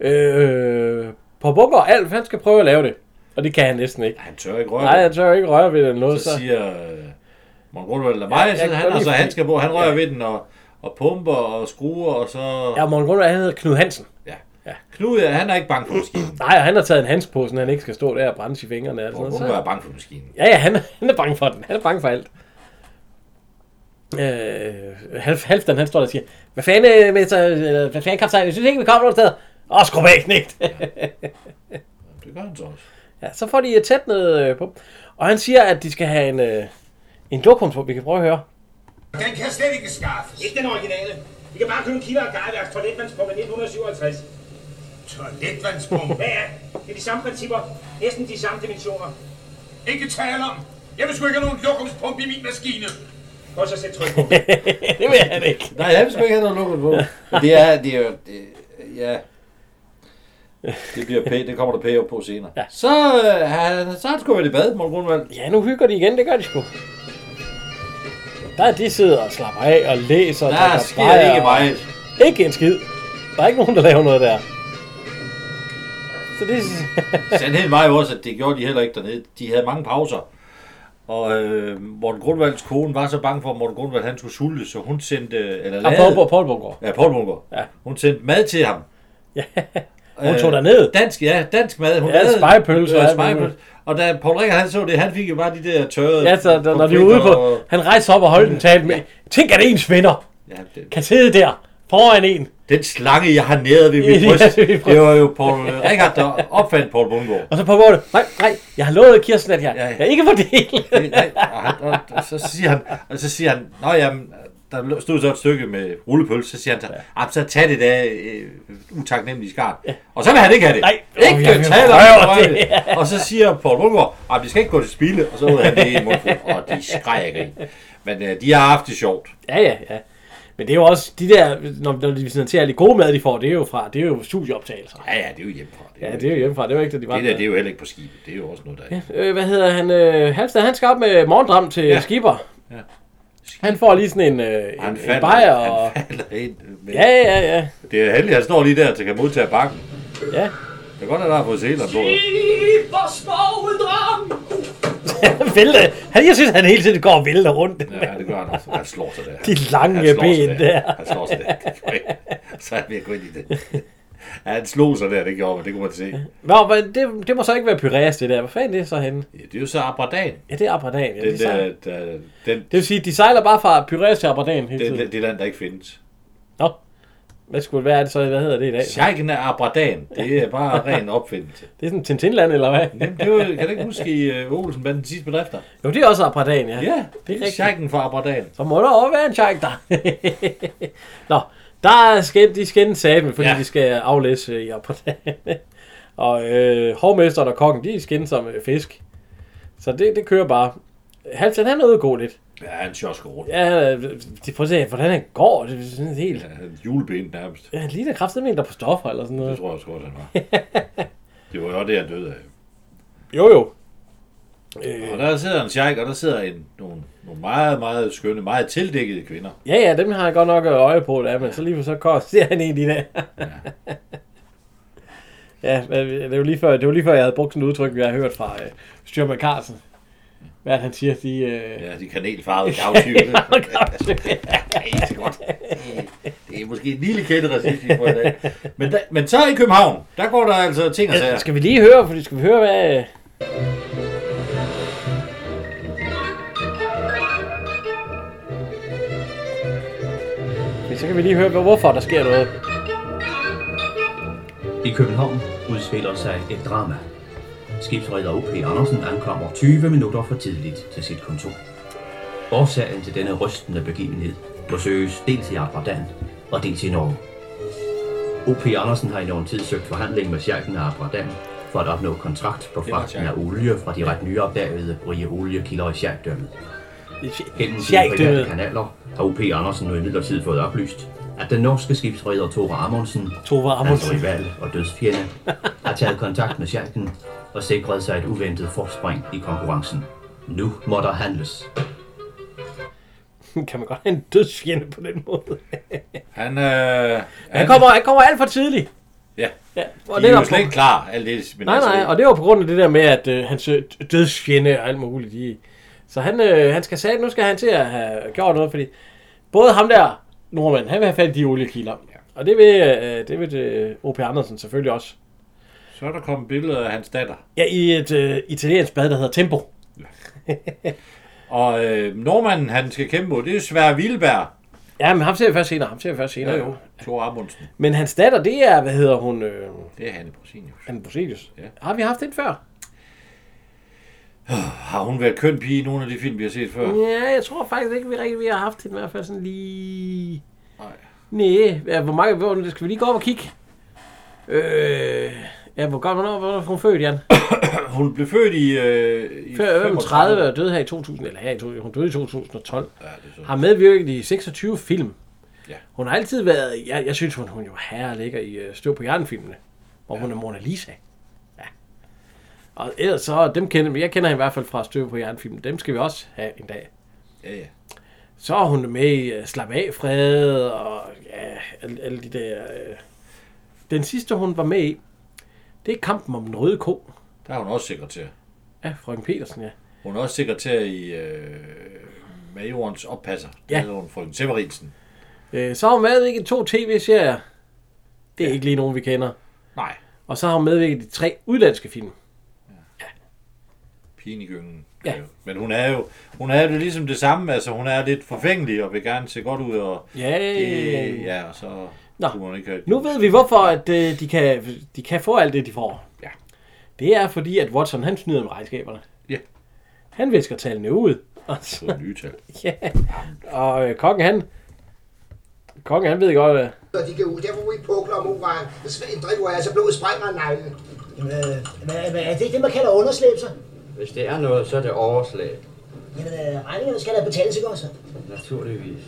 Nej. Øh, på bunker og Alf, han skal prøve at lave det. Og det kan han næsten ikke. Han tør ikke røre Nej, ved jeg tør ikke røre ved det eller noget, så, så... siger øh, Morten Grundvald, lad mig, jeg ja, kan han, godt og så lide- han skal på, han rører ja. ved den og, og pumper og skruer, og så... Ja. Ja, Morten Grundvald, han hedder Knud Hansen. Knud, ja, han er ikke bange <clears throat> for maskinen. Nej, og han har taget en hans på, så han ikke skal stå der og brænde i fingrene. Og Morten sådan, Grundvald noget. er bange for maskinen. Så, ja, ja, han, han er bange for den. Han er bange for alt. Øh, Half, Halfdan, han står der og siger, hvad fanden, øh, mester, eller, hvad fanden, kaptajn, jeg synes ikke, vi kommer nogen steder. Åh, skru væk, knægt. Det gør han så også. <laughs> Ja, så får de øh, tæt ned øh, på. Og han siger, at de skal have en, øh, en lokum på, vi kan prøve at høre. <laughs> Den kan slet ikke skaffes. Ikke den originale. Vi kan bare købe en kilder af gejværks toiletvandspumpe 1957. Toiletvandspumpe. Ja, ja. Det er de samme principper. Næsten de samme dimensioner. ikke tale om. Jeg vil sgu ikke have nogen lokumspumpe i min maskine. Prøv så at sætte <laughs> tryk på. det vil han ikke. Nej, jeg vil sgu ikke have noget lukket på. Men det er, det er jo... Det, ja. Det, bliver pæ, det kommer der pæ op på senere. Ja. Så, øh, han- så har han sgu været i bad, Morten Grundvald. Ja, nu hygger de igen, det gør de sgu. Der de sidder og slapper af og læser. og Der drikker sker bajer ikke og- meget. Ikke en skid. Der er ikke nogen, der laver noget der. Så det Sandheden var jo også, at det gjorde de heller ikke dernede. De havde mange pauser. Og øh, Morten Grundvalds kone var så bange for, at Morten Grundvald han skulle sulte, så hun sendte... Eller er Paul, Paul, Paul Bunker. Ja, Poul Bunker. Ja. Hun sendte mad til ham. Ja. Hun Øh, tog derned. Dansk, ja, dansk mad. Hun Ja, spegepølse og og alt spejepølse. muligt. Og da Paul Rikker han så det, han fik jo bare de der tørrede... Ja, så da, når de er ude på... Han rejser op og holder den tale med... Tænk, at ens venner Ja, det, kan sidde der foran en. den slange, jeg har næret ved <laughs> mit Ja, bryst, ved mit bryst. det var jo Paul Rikard, der opfandt Paul Bundgaard. Og så på bordet. Nej, nej, jeg har lovet Kirsten, at jeg, Ja, ja. jeg ikke får del. Nej, og, han, og, og, så siger han, og så siger han, nå jamen, der stod så et stykke med rullepølse, så siger han, så, ja. så tag det der øh, utaknemmelige skarn. Ja. Og så vil han ikke have det. Nej. Åh, ikke jeg vil oh, taler prøve om det. <laughs> det. Og så siger Paul Rundgaard, at vi skal ikke gå til spilde, og så ud han det i en mundfuld, og de skreg ikke i. Men øh, de har haft det sjovt. <laughs> Ja, ja, ja. Men det er jo også de der, når, når de præsenterer alle de gode mad, de får, det er jo fra, det er jo studieoptagelser. Ja, ja, det er jo hjemmefra. Det er, Ja, ja, det er jo hjemmefra, det var ikke det, de var. det, der, det er jo heller ikke på skibet. Det er jo også noget, der er. Ja. Øh, hvad hedder han? Øh, Halvstad, han skal op med morgendram til ja. Skipper. Ja. Han får lige sådan en, øh, en, en bajer og... han falder ind. Med. Ja, ja, ja. Det er heldigt, at han står lige der, så kan modtage bakken. Ja, Det er godt, at der har fået seleren på. han vælter. Han, jeg synes, han hele tiden går og vælter rundt. Ja. Ja, det gør han også. Han slår sig der. De lange Han slår sig ben der. Han slår <laughs> sig der. Det gjorde jeg. Så er jeg ved at gå ind i det. Ja, han slog sig der, det gjorde man. Det kunne man se. Nå, men det, det må så ikke være Pyreas, det der. Hvad fanden er det så henne? Ja, det er jo så Abradan. Ja, det er Abradan. Ja, Den de sejler. der, der, den, Det vil sige, de sejler bare fra Pyreas til Abradan hele den, tiden. det land, der ikke findes. Nå, hvad skulle hvad er det så? Hvad hedder det i dag? Sjejken af Abradan, det er bare ren opfindelse. Det er sådan Tintinland, eller hvad? <laughs> Jamen, det var, kan du ikke huske i uh, Olsen blandt de sidste bedrifter? Jo, det er også Abradan, ja. Ja, det er rigtigt. Sjejken fra Abradan. Så må der også være en check <laughs> der. Nå, der skal, de skal sammen, fordi ja. Ja. de skal aflæse øh, jer på dagen. <laughs> og øh, hovmesteren og kokken, de er skinnet som øh, fisk. Så det, det kører bare. Halvdan, han er ude at gå lidt. Ja, han sjosker rundt. Ja, øh, de prøver at se, hvordan han går. Det er sådan helt... Ja, han juleben nærmest. Ja, han ligner kraftedeme en, der er på stoffer eller sådan Det noget. tror jeg også godt, han <laughs> var. Det var jo det, han døde af. Jo, jo. Øh, Og der sidder en sheik, og der sidder en, nogle, nogle meget, meget skønne, meget tildækkede kvinder. ja, ja, dem har jeg godt nok øh, øje på, der, men så lige for så kort <laughs> ser han en i dag. <laughs> Ja, men øh, det var lige før, det var lige før jeg havde brugt sådan et udtryk, jeg har hørt fra øh, Styrman Carlsen. Hvad er det, han siger, de... Øh, Ja, de <laughs> kanelfarvede kavtyre. det ja. er så godt. Det er måske en lille kende racistisk for i dag. Men, der, men så i København, der går der altså ting og sager. <laughs> skal vi lige høre, fordi skal vi høre, hvad... øh, Fordi Så kan vi lige høre, hvor- hvorfor der sker noget. I København udspiller sig et drama. Skibsredder O.P. Andersen ankommer 20 minutter for tidligt til sit kontor. Årsagen til denne rystende begivenhed må søges dels i Abradan og dels i Norge. O.P. Andersen har i nogen tid søgt forhandling med sjerken af Abradan for at opnå kontrakt på fragten af olie fra de ret nyopdagede rige oliekilder i sjerkdømmet. Gennem sine Sjæk, private det kanaler har O.P. Andersen nu imidlertid fået oplyst, at den norske skibsredder Tore Amundsen Tove hans Amundsen. rival og dødsfjende, har taget kontakt med Schalken og sikret sig et uventet forspring i konkurrencen. Nu må der handles. Kan man godt have en dødsfjende på den måde? Han, øh, Han kommer, han kommer alt for tidligt. Ja, Ja, og de det er er jo slet på, ikke klar, alt det. Men nej, nej, og det var på grund af det der med, at øh, hans øh, dødsfjende og alt muligt. De, så han, øh, han skal sige, nu skal han til at have gjort noget, fordi både ham der, nordmanden, han vil have fat i de oliekilder. Og det vil, øh, det vil øh, O.P. Andersen selvfølgelig også. Så er der kommet billeder af hans datter. Ja, i et øh, italiensk bad, der hedder Tempo. Og øh, nordmanden, han skal kæmpe mod, det er Svær Vilberg. Ja, men ham ser vi først senere, ham ser vi først senere. Ja, jo. Thor Amundsen. Men hans datter, det er, hvad hedder hun, øh, Det er Hanne Brosinius. Anne Broselius. Ja. Ja. Har vi haft den før? Har hun været køn pige i nogle af de film, vi har set før? Ja, jeg tror faktisk ikke, vi rigtig vi har haft den i hvert fald sådan lige... Nej. ja, hvor mange... Hvor, skal vi lige gå op og kigge? Øh... Ja, hvor godt, hvornår, hvornår hun født, Jan? Hun blev født i, øh, i Før 35 og døde her i 2000, eller her i 2000, hun døde i 2012. Ja, det er så. Har medvirket i 26 film. Ja. Hun har altid været, jeg, jeg synes hun, hun jo herre ligger i øh, støv på jernfilmene. hvor hun er Mona Lisa. Ja. Og ellers så, dem kender jeg kender hende i hvert fald fra Støv på Jernfilmen. Dem skal vi også have en dag. Ja, ja. Så er hun med i uh, Slap af, Fred, og ja, alle, alle de der... Uh... Den sidste, hun var med i, det er Kampen om den røde ko. Der er hun også sekretær. Ja, frøken Petersen, ja. Hun er også sekretær i øh, majorens oppasser. Ja. Det hedder hun, frøken Severinsen. Øh, så har hun medvirket i to tv-serier. Det er ja. ikke lige nogen, vi kender. Nej. Og så har hun medvirket i tre udlandske film. Pigen i gyngen. Ja. Øh, Men hun er jo hun er jo ligesom det samme. Altså, hun er lidt forfængelig og vil gerne se godt ud. Og Ja, det, ja, og så Nå. kunne hun ikke have... Nu ved vi, hvorfor at, øh, de, kan, de kan få alt det, de får. Ja. Det er fordi, at Watson han snyder med regnskaberne. Ja. Han visker tallene ud. Og, så, På nye tal. ja. og øh, kongen han... Kongen han ved godt, at Og de kan ud, der hvor vi pukler om uran. En drikker altså blodet sprænger neglen. Jamen, øh, hvad, hvad er det, det man kalder underslæb, så? Hvis det er noget, så er det overslag. Jamen, øh, regningerne skal da betales, ikke også? Naturligvis.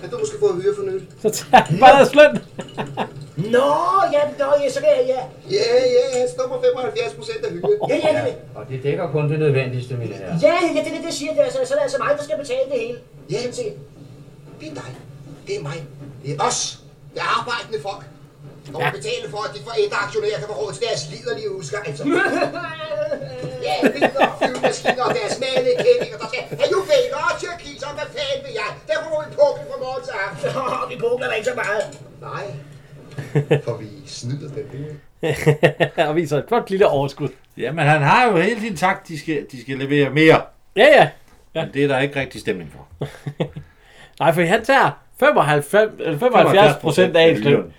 Kan du måske få hyre for nyt? så tager han bare deres <laughs> løn. Nå, ja, nå, ja, så kan jeg, ja. Ja, ja, ja, står på 75 procent af hyre. Ja, ja, det, Og det dækker kun det nødvendigste, mine herrer. ja, ja, det er det, det siger det, altså, så er det altså mig, der skal betale det hele. Ja, sådan set. Det er dig. Det er mig. Det er os. Det er arbejdende folk. Når man betaler for, at de forældre aktionærer kan få råd til deres liderlige <laughs> udskejelser. altså. ja, biler og flyvemaskiner og deres male kællinger, der skal have jo fælger og tyrkiser, hvad fanden ved jeg? Der må vi pukle fra morgen til aften. Åh, vi pukler da ikke så meget. Nej, for vi snyder den del. og viser et flot lille overskud. Jamen, han har jo hele tiden sagt, de skal, de skal levere mere. Ja, ja. Ja. Men det er der ikke rigtig stemning for. Nej, for han tager 95, eller 75 procent af ens løn.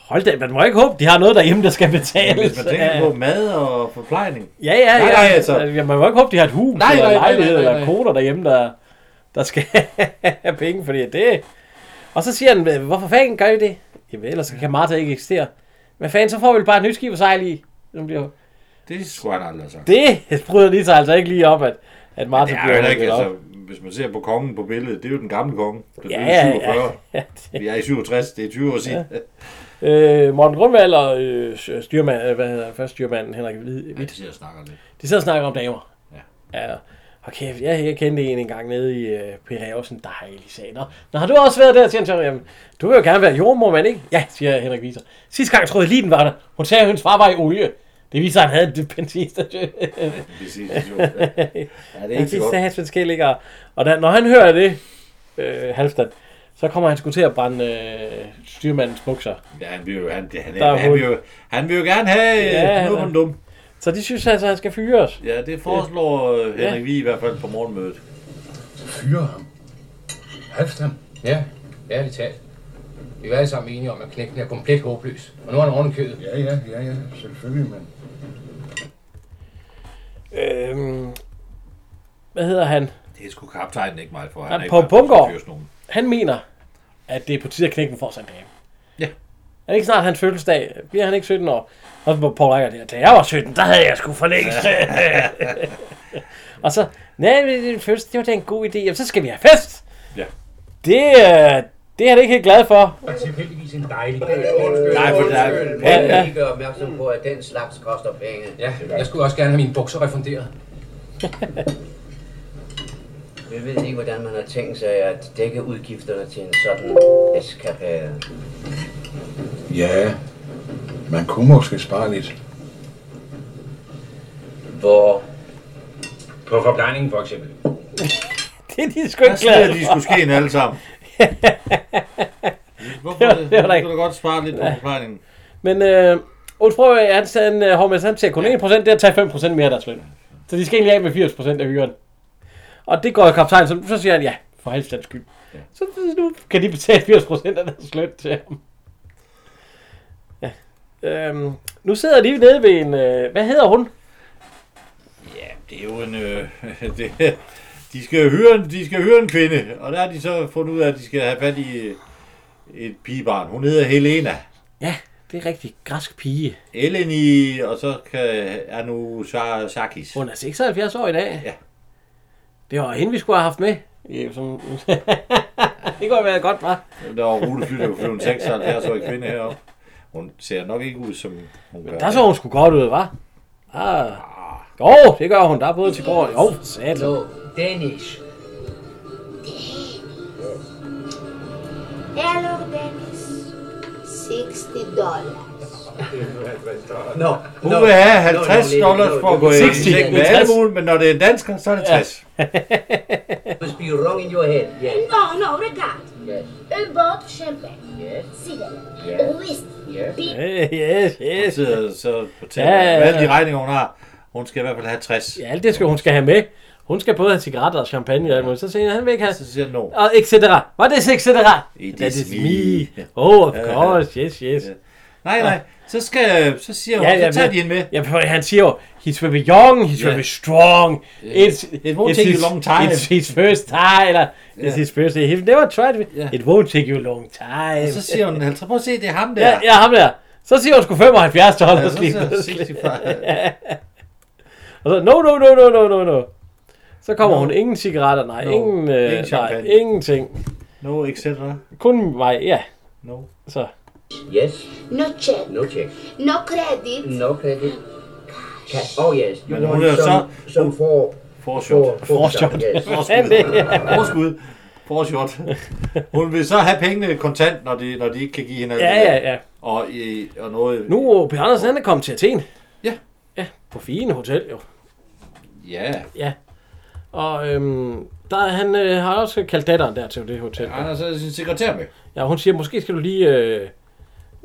Hold da, man må ikke håbe, de har noget derhjemme, der skal betales. Hvis man tænker på mad og forplejning. Ja, ja, Nej, ja. nej, altså. Ja, man må ikke håbe, de har et hus, Nej, nej, eller nej, nej, lejlighed, nej, nej, eller nej. koner derhjemme, der, der skal have penge, fordi det... Og så siger han, hvorfor fanden gør I det? Jamen, ellers kan Martha ikke eksistere. Men fanden, så får vi bare et nyt skib at sejle i. Nu bliver... Det skulle han aldrig have sagt. Det bryder lige sig altså ikke lige op, at, at Martha Det er jo bliver heller ikke, hugget op. altså, hvis man ser på kongen på billedet, det er jo den gamle konge. Den Ja, ja, ja, <laughs> ja. 47. Ja, <laughs> Vi er i 67, det er 20 år siden. Ja. Øh, Morten Grundvald og øh, styrmand, øh, hvad hedder han, først styrmanden Henrik Hvid, Vi sidder og snakker lidt. De sidder og snakker om damer. Ja. ja. Og kæft, jeg, jeg kendte en engang nede i uh, P. Havsen, der har Eli sagde, Nå, Nå, har du også været der, siger han så, jamen, du vil jo gerne være jordmor, men ikke? Ja, siger Henrik Viser. Sidste gang troede jeg lige, den var der. Hun sagde, at hendes far var i olie. Det viser, at han havde det benzinstation. <laughs> Benzinstation, ja. Ja, det er ikke så godt. statsvenskab ligger. og- Og da, når han hører det, øh, Halvstand, så kommer han sgu til at brænde øh, styrmandens bukser. Ja, han vil jo, han, han, Der er han, han, hul. vil, jo, han vil jo gerne have, Ja, ja, nu er han- hun dum. Så de synes altså, at han skal fyres. Ja, det foreslår øh, Henrik ja. Vi i hvert fald på morgenmødet. Fyre ham. Halvstam. Ja, ærligt talt. Vi er alle sammen enige om, at knækken er komplet håbløs. Og nu er han oven i kødet. Ja, ja, ja, ja. Selvfølgelig, mand. Øhm, hvad hedder han? Det er sgu kaptajnen ikke meget for. Han er ikke Paul meget for at Bundgaard. fyre sådan nogen. Han mener, at det er på tide, at knækken får sig en dame. Ja. Er det ikke snart hans fødselsdag? Bliver han ikke 17 år? Og så på Paul Reichert, der, da jeg var 17, der havde jeg sgu for <laughs> længst. og så, nej, men det, er første, det var da en god idé. Jamen, så skal vi have fest. Ja. Det, øh, det er han ikke helt glad for. Og tilfældigvis en dejlig Nej, for der er- Ja, ja. Jeg kan lige gøre opmærksom på, at den slags koster penge. Ja, jeg skulle også gerne have mine bukser refunderet. <laughs> Jeg ved ikke, hvordan man har tænkt sig at dække udgifterne til en sådan eskapade. Ja, man kunne måske spare lidt. Hvor? På forplejningen for eksempel. Det er de sgu ikke glade smider de sgu skeen <laughs> alle sammen. Hvorfor Det var- det? det var da Nu ikke- kan du godt spare lidt på Ja. forplejningen. Men øh, Ulf Frøberg, han, han, øh, Hormans, han siger kun 1%, det er at tage 5% mere af deres løn. Så de skal egentlig af med 80% af hyren. Og det går kaptajnen, så, så siger han, ja, for halvstands skyld. Ja. Så nu kan de betale 80% af deres løn til ham. Ja. Øhm, nu sidder de nede ved en, øh, hvad hedder hun? Det er jo en... Øh, det, de, skal hyre en, de skal hyre en kvinde, og der har de så fundet ud af, at de skal have fat i øh, et pigebarn. Hun hedder Helena. Ja, det er rigtig græsk pige. Eleni, og så kan, er nu Sa- Sakis. Hun er 76 år i dag. Ja. Det var hende, vi skulle have haft med. Ja, som... <laughs> det kunne have været godt, hva'? Der var rutefly, der kunne flyve en 76-årig kvinde heroppe. Hun ser nok ikke ud som hun gør. Der så hun sgu godt ud, hva'? Ah. Jo, det gør hun. Der er både til går. Jo, satan. Dennis. Hello, Dennis. 60 dollars. Nå, hun vil have 50 dollars for at gå i 60. seng med alle mulige, men når det er en dansker, så er det Ja. 60. must be wrong in your head. Yes. No, no, regard. Yes. A bottle champagne. Yes. Cigarette. Yes. Whiskey. Yes. Beer. yes, yes. Hun sidder så fortæller, Ja, ja, ja, ja. ja. alle de regninger, hun har. Hun skal i hvert fald have 60. Ja, alt det skal hun skal have med. Hun skal både have cigaretter og champagne og alt muligt. Så siger han, han vil ikke have... Så siger han, no. Og et cetera. What is et cetera? It That is is me. me. Oh, of course. Yes, yes. Nej, nej. Så, skal, så siger hun, så tager de hende med. Ja, for han siger jo, he's very young, he's Yeah. very strong. Yeah. It's, It won't take you his- long time. It's his first time. Eller, it's Yeah. his first time. He's never tried it. Yeah. It won't take you long time. Og så siger hun, altså prøv at se, det er ham der. Ja, ja, ham der. Så siger hun sgu 75 Ja, dollars så lige siger hun pludselig. 65. Og så, no, no, no, no, no, no, no. Så kommer no. hun ingen cigaretter, nej, No. no. ingen, øh, Ingen ingen nej, champagne. ingenting. No, etc. Kun mig, ja. No. Så. Yes. No check. No check. No credit. No credit. Ca- oh yes. You Men hun want er jo some, så- some for Forshot. For- forshot, <laughs> yes. Forskud. Forskud. Forshot. Hun vil så have pengene kontant, når de, når de ikke kan give hende alt Ja, det der. ja, ja. Og, i, og noget... Nu er Per Andersen, han er kommet til Athen. Ja. Ja, på fine hotel jo. Ja. Ja. Og øhm, der, er han øh, har også kaldt datteren der til det hotel. Han har så sin sekretær med. Ja, hun siger, måske skal du lige øh,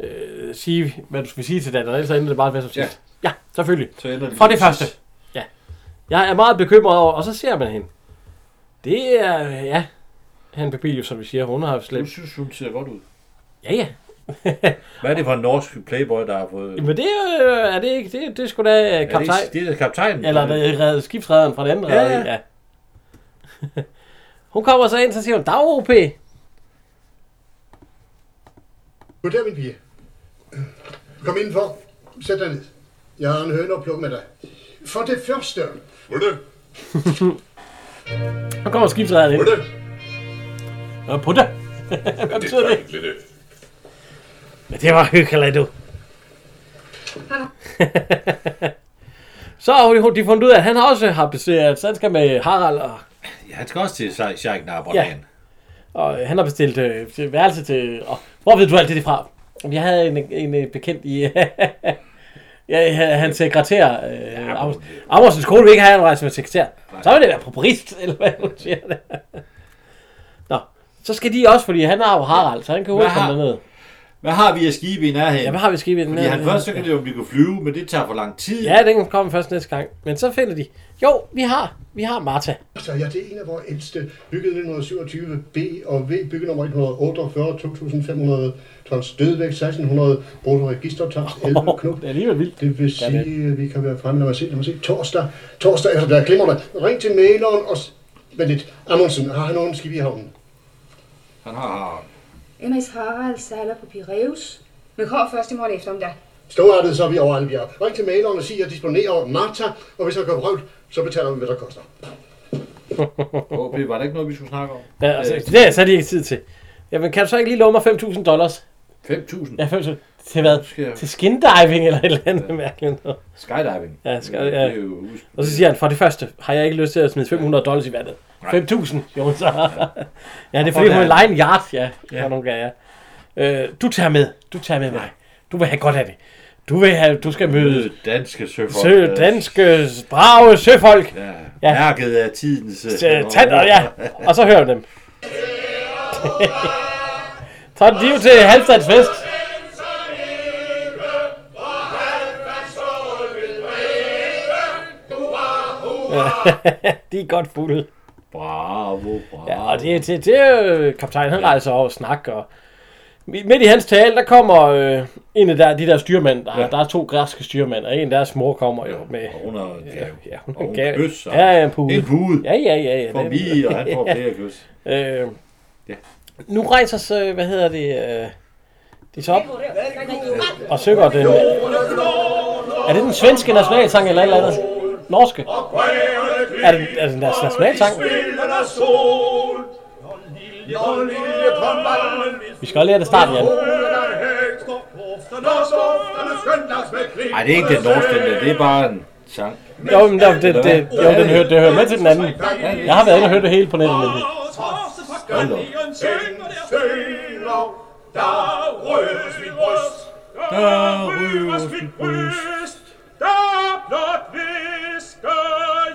øh, sige, hvad du skal sige til datteren, ellers så ender det bare med som Ja. sidst. Ja, selvfølgelig. Så ender det Fra lige det til første. sidst. Ja. Jeg er meget bekymret over, og så ser man hende. Det er, øh, ja, han Papilius, som vi siger, hun har Du slet... synes, hun ser godt ud. Ja, ja. Hvad er det for en norsk playboy, der har fået... Men det er, øh, er det ikke, det, det er sgu da øh, Er det, kaptajn. ikke- det er kaptajnen. Eller det er reddet skibsrederen fra den anden Ja, ja, ja. ja. <laughs> ja. hun kommer så ind, så siger hun, dag OP. Goddag, min pige. Kom indenfor. Sæt dig ned. Jeg har en høne at plukke med dig. For det første... Goddag. Så kommer skibsrederen ind. Putte. Ja, putte. Hvad betyder det? Men det var hyggeligt, du. <laughs> så har hun- de fundet ud af, at han også har bestilt, så han skal med Harald og Ja, han skal også til Sheikh Nabra. Ja. Og øh, han har bestilt øh, til- værelse til... Og, hvor ved du alt det fra? Jamen, Jeg havde en, en øh, bekendt i... <laughs> ja, han- hans sekretær. Øh, Amers, Amersens kone vil ikke have, at han rejser med sekretær. Så vil det være properist, <laughs> eller hvad hun siger det. Nå, så skal de også, fordi han har jo Harald, så han kan jo Hvad ikke komme har- derned. Hvad har vi af skibe i nærheden? Ja, hvad har vi af skibe i Fordi nærheden? han først så kan det jo, om vi kunne flyve, men det tager for lang tid. Ja, den kommer først næste gang. Men så finder de... Jo, vi har, vi har Martha. Så Altså, ja, det er en af vores ældste, bygget 1927 B og V, bygget nummer 148, 2.500 tons dødvægt, 1.600 brugt registertons, 11 knop. Det er alligevel vildt. Det vil Ja, det er. sige, at vi kan være fremme, lad mig se, lad mig se, torsdag, torsdag efter, der glimmer det. Ring til maileren og... s- Vent lidt, Amundsen, har han nogen skib i havnen? Han har... MS Harald sejler på Piraeus, men kommer først i morgen eftermiddag. Storartet, så er vi over Alvbjerg. Ring til maleren og sig, at jeg disponerer over Marta, og hvis han går røvl, så betaler vi, hvad der koster. OP, var det ikke noget, vi skulle snakke om? Ja, altså, Øh, det har så de ikke tid til. Jamen, kan du så ikke lige love mig 5.000 dollars? 5.000? Ja, 5.000. Til hvad? Til skindiving eller et eller andet ja. mærkeligt noget. Skydiving. Ja, sky, Det er ja. jo- Og så siger han, for det første har jeg ikke lyst til at smide 500 dollars i vandet. 5.000, jo hun så. Ja, det er Og fordi, hun der- er lejen yard, ja. Ja. ja. Nogle gange, ja. Øh, du tager med. Du tager med mig. Du vil have godt af det. Du, vil have, du skal møde Danske søfolk. sø, danske, brave søfolk. Ja. Ja. Mærket af tidens... øh, Øh, Tander, ja. Og så hører vi dem. <laughs> Så er de jo til Halvstads fest. <laughs> Ja, de er godt fulde. Bravo, bravo. Ja, og det, det, det er jo kaptajn, han rejser over og snakker. Og midt i hans tale, der kommer øh, en af der, de der styrmænd. Der, Ja. ja. der er to græske styrmænd, og en deres mor kommer jo med... Og hun har en gave. Ja, hun og hun gav- kysser. Ja, ja, en pude. En pude. Ja, ja, ja. ja Får det- vi, og han får flere kys. Øh, ja. Nu rejser så, hvad hedder det, øh, de så op og synger den. Er det den svenske nationalsang eller et eller andet? Norske? Er det, er det den deres nationalsang? Vi skal også lære det starten, Jan. når dufterne skønnes med klip. Nej, det er ikke den norske, den der. det er bare en sang. Jo, men der, det, det, jo, den hører, det hører med til den anden. Jeg har været inde og hørt det hele på nettet. nemlig. Hold da op. Den synger, der røres mit bryst. Der røres mit bryst. Der blot visker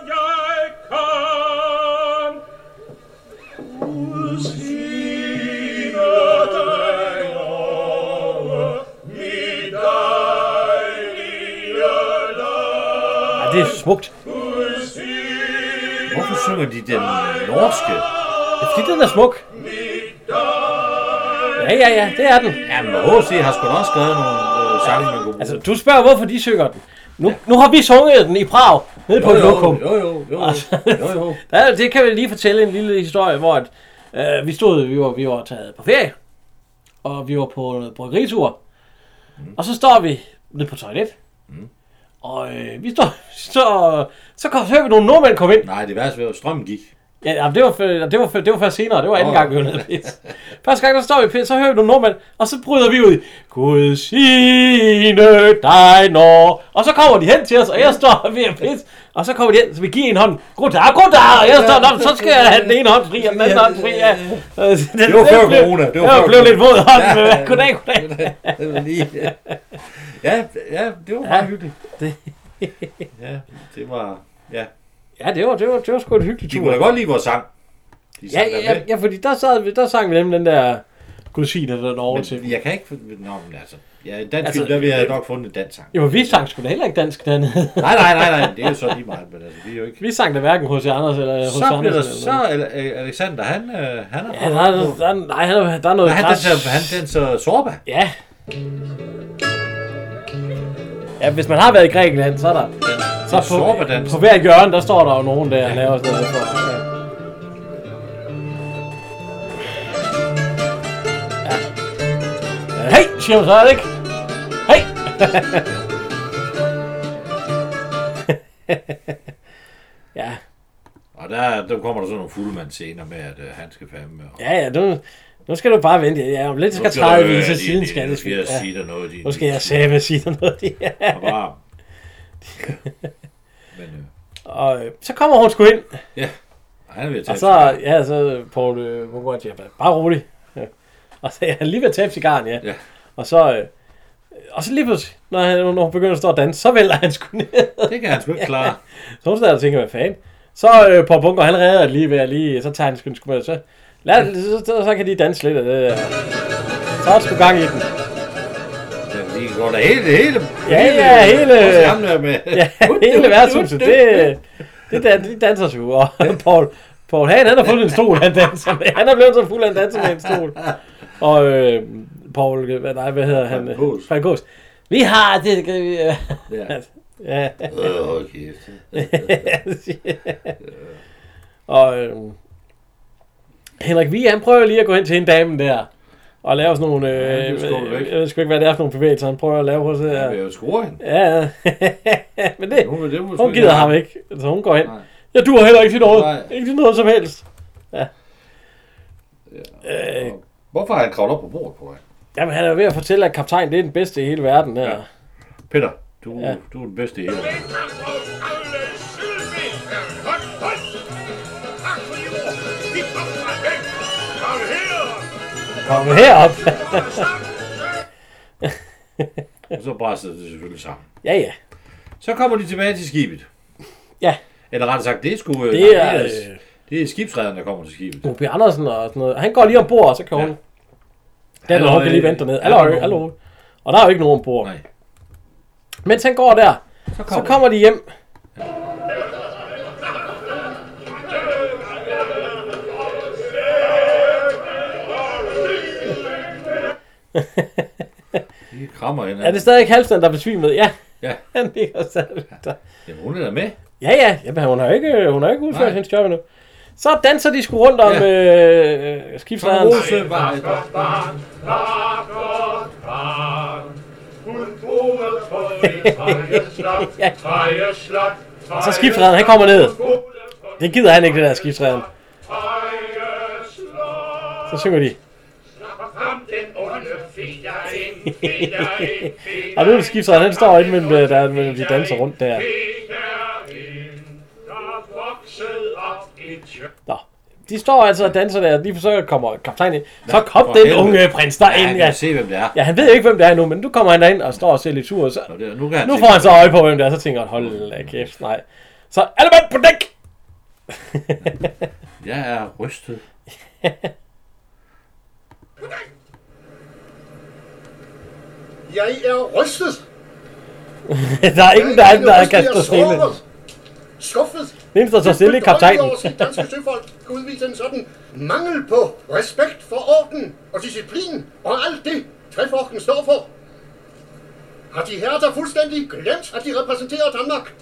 jeg kan. Udsige dig over mit dejlige Ja, det er smukt. Hvorfor synger de den norske? Ja, fordi den er smuk. Ja, ja, ja, det er den. Jamen, H.C. har sgu da også skrevet nogle øh, sange, man kunne bruge. Altså, du spørger, hvorfor de synger den. Nu, nu har vi sunget den i Prag, nede på Jo, et jo, lokum. Altså. jo, jo, jo, jo, jo. Der, det kan vi lige fortælle en lille historie, hvor at, øh, vi stod, vi var, vi var taget på ferie, og vi var på noget bryggeritur, mm. og så står vi nede på toilet, Mm. og øh, vi står, <laughs> så, så, kom, så hører vi nogle nordmænd komme ind. Nej, det værste var, at strømmen gik. Ja, jamen, det, var, før- det, var, før- det var først senere, det var anden Nå. gang, vi var nede og pisse. Første gang, der står vi og pisse, så hører vi nogle nordmænd, og så bryder vi ud. i, Gud sine dig når. Og så kommer de hen til os, og jeg står ved at pisse. Og så kommer de hen, så vi giver en hånd. Goddag, goddag! Og jeg står, "Nå, så skal jeg have den ene hånd fri, og den anden hånd fri. Ja. Det var før corona. Det Det var var før blevet lidt våd corona. hånd. Ja, men ja. <laughs> Goddag, goddag. <laughs> Det var lige- Ja, ja, det var meget hyggeligt. Det. Ja, det var... Ja. Ja, det var, det var, det var sgu en hyggelig De tur. kunne da godt lide vores sang. De Ja, sang der ja, med. ja, fordi der, sad vi, der sang vi nemlig den der Gud sige den over til. Men jeg kan ikke... få- Nå, men altså... Ja, en dansk Altså, film, der ville jeg nok fundet en dansk sang. Jo, men vi sang sgu da heller ikke dansk dernede. <laughs> Nej, nej, nej, nej, det er jo så lige meget, men altså, vi er jo ikke... Vi sang da hverken hos Anders eller hos Så blev Andersen. der eller noget. så... Ale- Ale- Alexander, han, øh, han er... Ja, der er, der, er, nej, han er- der er noget... Nej, han der er- danser- han danser Zorba. Ja. Ja, hvis man har været i Grækenland, så er der... Så en sorbedans. på hver hjørne, der står der jo nogen der og laver sådan noget. for- Ja. Ja. Hey, siger man så, er det ikke? Hey! <laughs> ja, Og der, der kommer der sådan nogle fuldmand senere med, at øh, han skal fandme... Og... Ja, ja, nu, nu skal du bare vente. Ja, om lidt Nu skal skal du øh, 30 høre vise din- siden din- skal nu det skal sgu- jeg ja. sige dig noget, din- Nu skal jeg din- sætte sige dig noget. <laughs> Ja. Og bare... Men øh, Og øh, så kommer hun sgu ind. ja, han er ved at tage Og så, ja, så Paul øh, Mungård siger, "Bare- bare rolig. <laughs> Ja. Og så er han lige ved at tabe cigaren, ja. ja. Og så, øh, og så lige pludselig, når, han, når hun begynder at stå og danse, så vælter han sgu <laughs> ned. Det kan han sgu ikke klare. Så hun stadig og tænker, hvad fanden. Så øh, Paul Bunker, han redder det lige ved at lige, så tager han sgu en sgu med. Så, lad, så, så, så, kan de danse lidt af det der. Så er der sgu gang i den. Ja, vi går da hele, hele... Ja, ja, hele... Også ham der med... ja, <laughs> hele værtshuset, det, det der, de danser sgu. Og <laughs> Paul, Paul Hagen, han har fundet en stol, han danser med. Han er blevet så fuld, han danser med en <laughs> stol. Og øh, Paul, øh, hvad, nej, hvad hedder han? Frank Aas. Frank Aas. Vi <laughs> har det... Ja. ja. Åh, hold kæft. <laughs> og øh, Henrik Vig, han prøver lige at gå hen til en dame der. Og lave sådan nogle... Øh, Ja, ja, det er sgu jeg, væk. jeg ved sgu ikke, hvad det er for nogle bevægelser, han prøver at lave hos det her. Han vil jo score hende. Ja, ja. <laughs> men det, Hun vil- det må hun, sgu hun ikke gider have. ham ikke, så hun går hen. Nej. Jeg duer heller ikke til noget. Nej. Ikke til noget som helst. Ja. Øh, Hvorfor har han kravlet op på bordet på vej? jamen, han er ved at fortælle, at kaptajn det er den bedste i hele verden. Ja. Peter, du, Ja. du er den bedste i hele verden. Kom herop. <laughs> Og så brænder det selvfølgelig sammen. ja, ja. Så kommer de tilbage til skibet. Ja. Eller rettere sagt, det er sgu... øh, Det nej, er, det er, det er skibsrederen, der kommer til skibet. Bo P. Andersen og sådan noget. Han går lige ombord, og så kan hun... Ja. Der er hun kan øh, lige vente dernede. Halløj, halløj. Og der er jo ikke nogen ombord. Nej. Mens han går der, så kommer kommer, så kommer de hjem. De krammer hinanden. Er det stadig Halvstand, der er besvimet? Ja. <laughs> Ja. Han ligger stadig der. Jamen, hun er da med. Ja, ja. Jamen, hun har jo ikke, hun har jo ikke udført Nej. hendes job endnu. Så danser de sgu rundt om ja. øh, skibsrederen. Rose var et Og så skibsrederen, han kommer ned. Det gider han ikke, det der skibsrederen. Så synger de. Frem den onde fjende. Og nu er det skifter, han står inde mellem, øh, der, mellem de danser rundt der. Nå. De står altså og danser der, lige så kommer kaptajnen ind. Så kom for den helvede. unge prins derind. Ja, han kan se, hvem det er. Ja, han ved ikke, hvem det er nu, men nu kommer han derind og står og ser lidt sur. Så, Nå, det, nu, kan han nu tænke- får han så øje på, hvem det er, så tænker han, hold da kæft, nej. Så alle mand på dæk! <laughs> Jeg er rystet. Jeg er rystet. der er ingen, der, er, der Jeg kan rystet, stå jeg er stille. såret, Skuffet. Den eneste, der står stille, er kaptajnen. Jeg er bedrøvet over at se danske søfolk kan udvise en sådan mangel på respekt for orden og disciplin og alt det, træforken står for. Har de herrer der fuldstændig glemt, at de repræsenterer Danmark?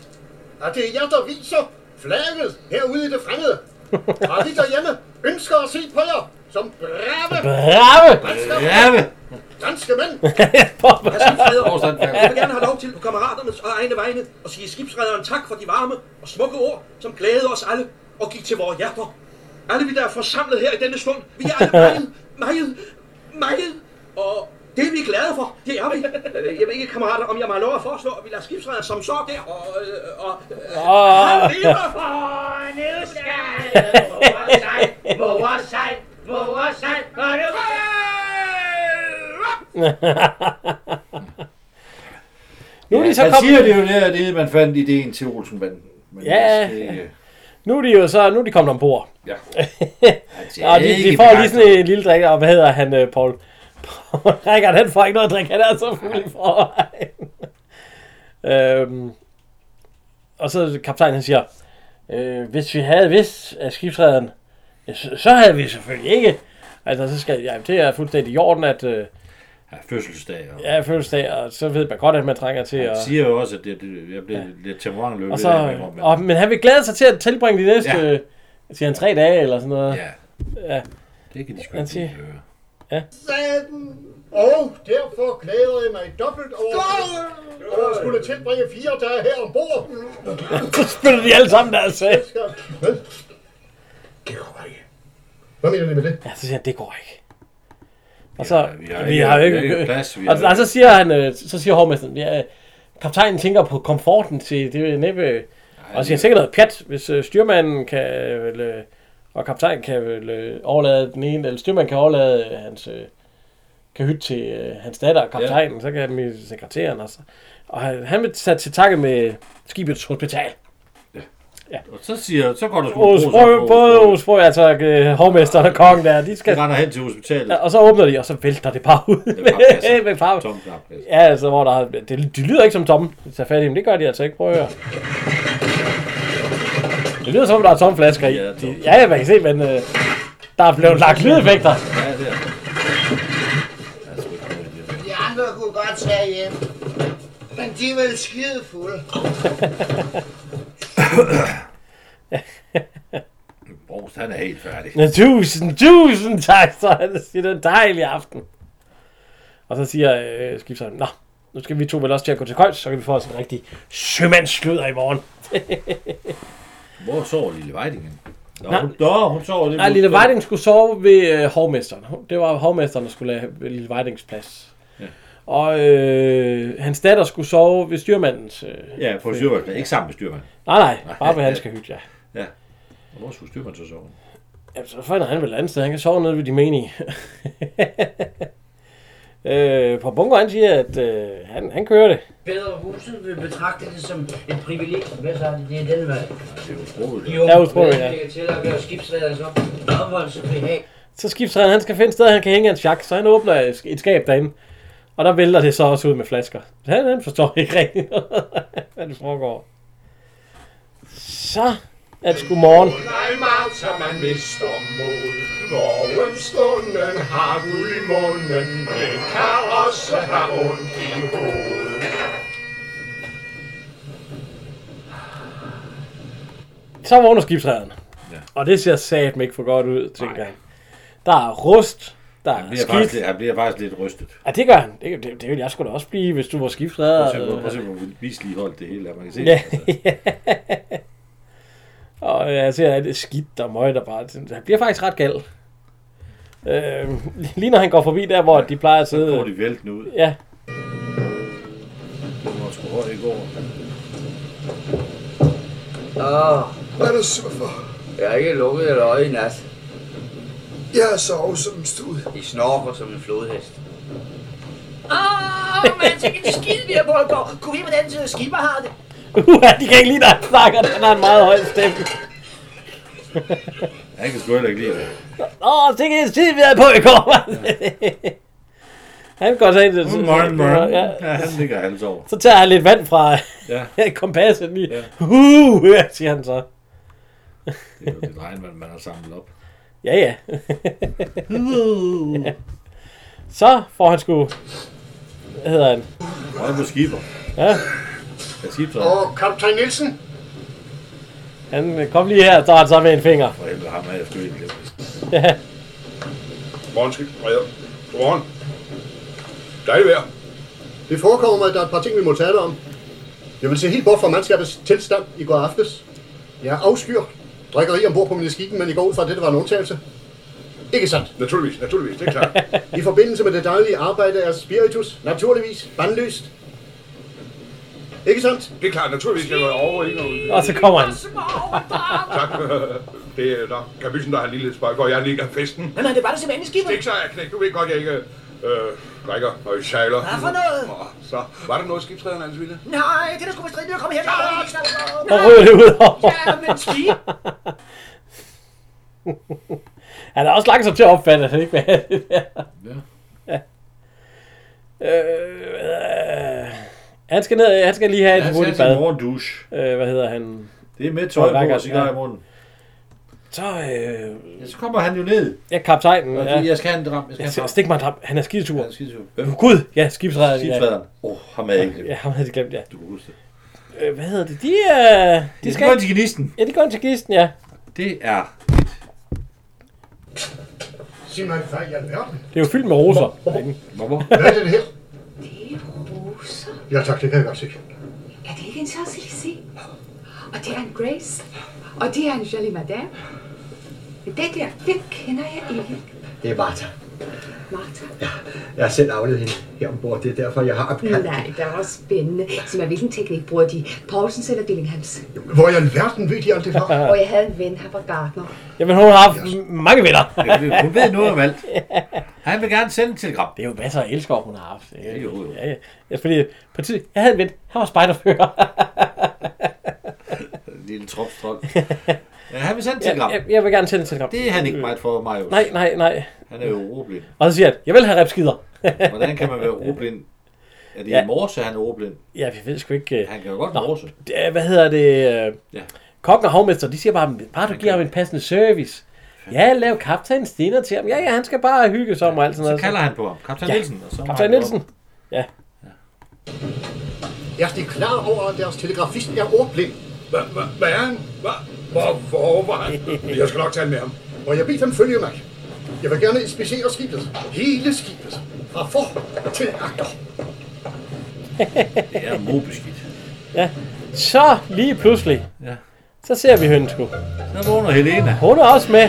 At det er jer, der viser flaget herude i det fremmede? Har vi derhjemme ønsker at se på jer som brave, Brave! Brave! danske mænd? Jeg vil gerne have lov til på kammeraternes og egne vegne at sige skibsrederen tak for de varme og smukke ord, som glædede os alle og gik til vores hjerter. Alle vi, der er forsamlet her i denne stund, vi er alle meget, <laughs> meget, meget, og det er vi glade for, det er vi. Øh, Jeg ved ikke, kammerater, om jeg må have lov at foreslå, at vi lader skibsrederen som så der, og... øh, og, og Ah. han lever for... For nu skal mor sig, mor sig, mor sig, og nu Nu er de så han kommet- siger det jo der, det er, man fandt ideen til Olsenbanden. Men Ja. hvis det- øh, Nu er de jo så, nu er de kommet ombord. <laughs> Ja. og de, de ikke får lige sådan en lille drik, og hvad hedder han, øh, <laughs> Paul? Paul Rickard, han får ikke noget at drikke, han er så fuld i forvejen. øhm, og så kaptajnen han siger, øh, hvis vi havde vidst af skibsrederen, ja, så, så havde vi selvfølgelig ikke. Altså, så skal, ja, det er fuldstændig i orden, at... Øh, ja, fødselsdag. Og, ja, fødselsdag, og så ved man godt, at man trænger til Han at... siger jo også, at det, det, jeg blev ja. lidt temperamentløbet. Og så, og, men han vil glæde sig til at tilbringe de næste, Ja. ja. siger han, tre dage eller sådan noget. Ja. ja. Det kan de sgu Han ikke siger- lige høre. Ja. sagde den, og derfor glæder jeg mig dobbelt over, over at skulle tilbringe fire dage her ombord. <laughs> så spiller de alle sammen deres sag. Hvad mener de med det? Ja, så siger han, det går ikke. Og så, ja, vi har, vi har jo ikke- ikke, vi har ikke plads, vi og, har- og, så siger han, øh, så siger hovmesteren, ja, kaptajnen tænker på komforten til det er næppe, og så siger han sikkert noget pjat, hvis øh, styrmanden kan øh, vel, øh, og kaptajnen kan vel øh, overlade den ene, eller styrmanden kan overlade øh, hans, øh, kan hytte til øh, hans datter og kaptajnen, så kan han med sekretæren også. Og han, han vil tage til takke med skibets hospital. Og så siger så går der sgu en Osprø, pose op. både Osprø, altså øh, hovmesteren og kongen der, de skal... De render hen til hospitalet. Ja, og så åbner de, og så vælter det bare ud med, med farve. Tom papkasse. Ja, altså, hvor der er, det, de lyder ikke som tomme, de tager fat i, men det gør de altså ikke. Prøv at høre. Det lyder som om, der er tomme flasker i. De, ja, man kan se, men øh, der er blevet lagt lydeffekter. Ja, det er. De andre kunne godt tage hjem. Men de er vel skide fulde. Brugst, han er helt færdig. Ja, tusind, tusind tak, så han siger, det er en dejlig aften. Og så siger øh, skibsholm, nå, nu skal vi to vel også til at gå til køjs, så kan vi få os en rigtig sømandssludder i morgen. Hvor sover Lille Vejdingen? Nå, Nej. hun, nå, hun sover det. Nej, Lille Vejding skulle sove ved øh, hovmesteren. Det var hovmesteren, der skulle have Lille Vejdings plads. Ja. Og øh, hans datter skulle sove ved styrmandens... Øh, Ja, på styrmand. Ikke sammen med styrmand. Nej, nej, bare ved han skal hygge, ja. Ja. Og Hvor skulle styrmand så sove? Jamen, så finder han vel et andet sted. Han kan sove nede ved de menige. <laughs> øh, på bunker, han siger, at øh, han, han kører det. Bedre huset vil betragte det som et privilegium. Hvad så er det? Det er den vej. Det er utroligt. Det er utroligt, ja. til at gøre skibsredderens op- opholdsbehag. Så skibsrederen, han skal finde et sted, han kan hænge hans jakke, så han åbner et- et skab derinde. Og der vælter det så også ud med flasker. Så han, han forstår ikke rigtigt, <laughs> hvad det foregår. Så er det sgu morgen. Nej, Martha, man mister mod. Morgenstunden har guld i munden. Det kan også have ondt i hovedet. Så vågner skibsrederen. Ja. Ja. Og det ser satme ikke for godt ud, tænker han. Der er rust, der Han er bliver, faktisk, skidt. lidt- han bliver faktisk lidt rystet. Ja, det gør han. Det, det, det ville jeg sgu da også blive, hvis du var skibsredder. Prøv at se, hvor- prøv at se, hvor misligeholdt det hele er. Man kan se <laughs> Ja. det. og jeg ser, at det er skidt og møg, der bare... Han bliver faktisk ret gal. Øh, lige når han går forbi der, hvor de plejer at sidde... Så går de væltende ud. Ja. Det var sgu højt i går. Ah, Hvad er du sur for? jeg har ikke lukket et øje i nat. Jeg har sovet som en stud. I snorker som en flodhest. Åh, men jeg tænker, det skide vi her på at gå. Kunne vi på den side skipper har det? <laughs> Uha, de kan ikke lide, når han snakker. Han har en meget høj stemme. Han kan sgu heller ikke lide det. Åh, det kan jeg sige, vi havde på i går. <laughs> han går så ind til sådan... Morgen, morgen. Ja. Ja, han ligger halvt over. Så tager han lidt vand fra <laughs> Ja. kompasset lige. Ja. Uh, siger han så. Det er jo det regnvand, man har samlet op. Ja, ja. <laughs> ja. Så får han sgu... Hvad hedder han? Røg på skiber. Ja, Jeg siger så. Og kaptajn Nielsen, han øh, kom lige her, og så har han så med en finger. For helvede, ham er jeg sgu egentlig. Ja. Morgen, skyld. Godmorgen. Dejligt vejr. Det forekommer mig, at der er et par ting, vi må tale om. Jeg vil se helt bort fra mandskabets tilstand i går aftes. Jeg afskyr drikkeri ombord på miniskikken, men i går ud fra, at dette var en undtagelse. Ikke sandt? Naturligvis, naturligvis, det er klart. I forbindelse med det daglige arbejde er spiritus naturligvis bandlyst. Ikke sandt? Det er klart, naturligvis skal jeg være over ikke noget. Og så kommer han. Tak. Det er der. Kabysen, der har en lille spark, og jeg ligger festen. Nej, nej, det var det simpelthen skipper. Stik så, jeg knæk. Du ved godt, jeg ikke øh, drikker og jeg sejler. Hvad for noget? Nå, Så var der noget skibsrederen, hans ville? Nej, det er da sgu for stridigt at komme her. Og ryger det ud over. Ja, men skib. <laughs> Han er også langsom til at opfatte, at han ikke vil have det der. Ja. ja. Øh, øh, han skal ned, han skal lige have et Han skal hurtigt have sin bad. morgendouche. Øh, hvad hedder han? Det er med tøj på og cigar i munden. munden. Så, øh, så kommer han jo ned. Ja, kaptajnen. Og Ja. Jeg skal have en dram. Jeg skal Jeg have skal en stikke mig en dram. Han er skidetur. Han er skidetur. Gud, ja, skibsrederen. Skibsrederen. Åh, ham havde jeg ikke glemt. Ja, ham havde jeg glemt, ja. Du kan huske det. Øh, hvad hedder det? De, øh, de, de går ind til gnisten. Ja, de går ind til gnisten, ja. Det er... Sig mig, hvad i alverden? Det er jo fyldt med roser. Hvorfor? Hvad er det her? Det er roser. Ja tak, det kan jeg godt se. Er det ikke en Champs-Élysées? Og det er en Grace. Og det er en Jolie Madame. Men det der, det kender jeg ikke. Det er Martha. Martha. Jeg har selv afledt hende her ombord. Det er derfor, jeg har opkaldt. Nej, det er også spændende. Som er hvilken teknik bruger de? Paulsens eller Billinghams? Hvor i alverden ved de alt det fra? Og jeg havde en ven, han var gartner. Jamen, hun har haft mange venner. <laughs> Ja, hun ved noget om alt. Han vil gerne sende en telegram. Det er jo masser af elskere, hun har haft. Ja, jo, jo. Ja, ja. ja fordi på tid, jeg havde en ven, han var spejderfører. Lille tropstrol. Ja, han vil sende en telegram. <laughs> Jeg, jeg, jeg vil gerne sende en telegram. Det er han ikke meget for, Marius. Nej, nej, nej. Han er jo ordblind. Og så siger han, jeg vil have repskider. <laughs> Hvordan kan man være ordblind? Er det Ja. i morse, han er ordblind? Ja, vi ved sgu ikke... øh. Han kan jo godt Nå, morse. det er- Hvad hedder det? øh, Ja. Kokken og hovmester, de siger bare, bare du giver ham en passende service. Ja, lav kaptajn Stener til ham. Ja, ja, han skal bare hygge sig om og alt sådan Så noget. kalder han på ham. Kaptajn Nielsen, og så må Altså. kaptajn han gå Nielsen. Ja. Er de klar over, at deres telegrafist er ordblind? Hvad hvad er han? Hvad? Hvor, hvor var han? Jeg skal nok tale med ham. Og jeg beder dem følge mig. Jeg vil gerne inspicere skibet. Hele skibet. Fra for til agter. Det er mobeskidt. Ja. Så lige pludselig, Ja. så ser vi hende sgu. Så vågner Helena. Hun er også med.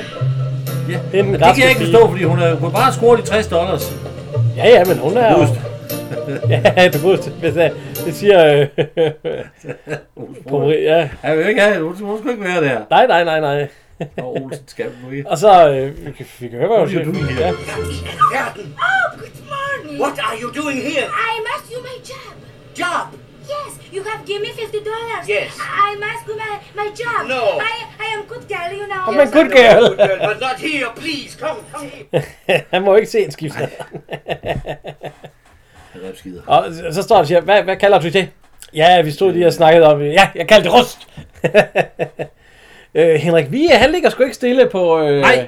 Ja. En Det raske kan jeg ikke pige. forstå, fordi hun har hun bare scoret de 60 dollars. Ja, ja, men hun er jo... Robust. ja, du godeste. Hvis jeg, det siger... <laughs> Øh, på, ja. Han vil ikke have det. Hun hun skulle ikke være der. Nej, nej, nej, nej. Og Olsen skal nu ikke. Og så... Øh, vi, kan- vi kan høre, hvad hun Nu er det jo siger. du, Ja. Verden. Oh, good morning. What are you doing here? I must do my job. Job. Yes, you have given me fifty dollars. Yes. I must do my, my job. No. I I am good girl, you know. I'm a good girl. But not here, please. Come, come here. Han må jo ikke se en skibsred. Repskider. og så- så står han og siger, hvad, hvad kalder du det? Ja, vi stod lige og snakkede om, ja, jeg kaldte det rust. <laughs> øh, Henrik Vige, han ligger sgu ikke stille på... Øh, Nej.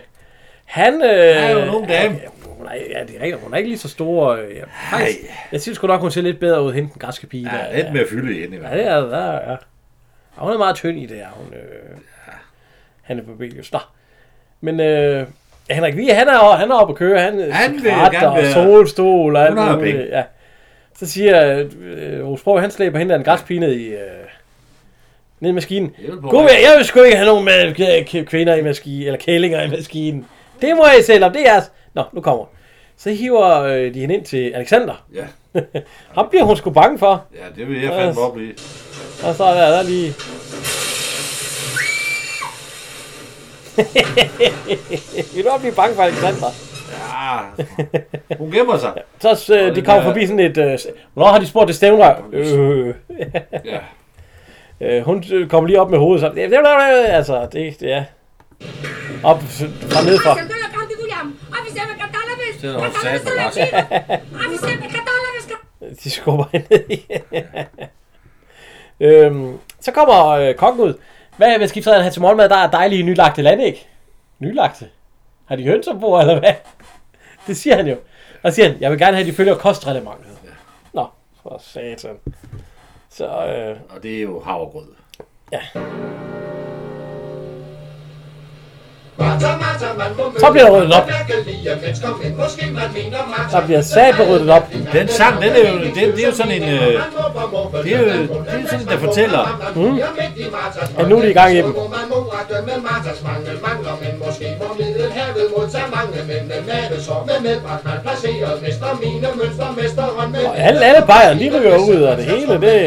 Han... Øh, er jo en ung dame. Ja, hun er, ja, det er rigtigt. Hun er ikke lige så stor. Øh, ja, faktisk, jeg synes sgu nok, hun ser lidt bedre ud, hende den græske pige. der. Ja, lidt mere fylde i hende i hvert Ja, det er der, ja. ja. Og hun er meget tynd i det her, hun... Øh, Han er på Belius. Nå. Men øh, ja, Henrik Vige, han er, han er oppe at køre. Han, øh, Han vil cigaretter gerne være- og solstol og alt Hun har muligt. penge. Ja. Så siger øh, Rosborg, han slæber hende af en græspige ned i... Øh, ned i maskinen. vil på Gud, vej. jeg, jeg øh, vil sgu ikke have nogen med, k- kvinder i maskinen, eller kællinger i maskinen. Det må jeg selv om, det er jeres. Nå, nu kommer hun. Så hiver øh, de hende ind til Alexander. Ja. Ham bliver hun sgu bange for. Ja, det vil jeg fandme Og- op i. Og så er der, der er lige... <laughs> Vil du også blive bange for Alexander? Ja, altså. hun gemmer sig. Så øh, de den kommer der- forbi sådan et... Øh, s- Hvornår har de spurgt det stævnrør? Øh. Ja. øh, hun øh, kommer lige op med hovedet, så... "Ja, ja, ja, ja," Altså, det, det er... Op fra nede fra. Sidder hun sat med laks. De skubber <laughs> hende ned i. øhm, så kommer øh, kongen ud. Hvad vil skibsrederne have til morgenmad? Der er dejlige nylagte landæg. Nylagte? Har de høns ombord, eller hvad? Det siger han jo. Og så siger han, jeg vil gerne have, at de følger kostreglementet. Ja. Nå, for satan. Så, øh, Og det er jo havregrød. Martha, Martha, man må møde Så bliver der ryddet op. Martha, man kan lide at mennesker, men måske man mener Martha. der bliver satme ryddet op. Den sang, den er jo, det, det er jo sådan en... Øh, det er jo det er sådan, en, der fortæller. Mm. Ja, nu er de i gang i dem. Så må man må rette med Marthas mange mangler, men måske må middelhavet mod sig mange, men den er det så med medbragt, man placeret mester, mine mønster, mesteren med... Og alle, alle bajerne, de ryger ud af det hele. Det,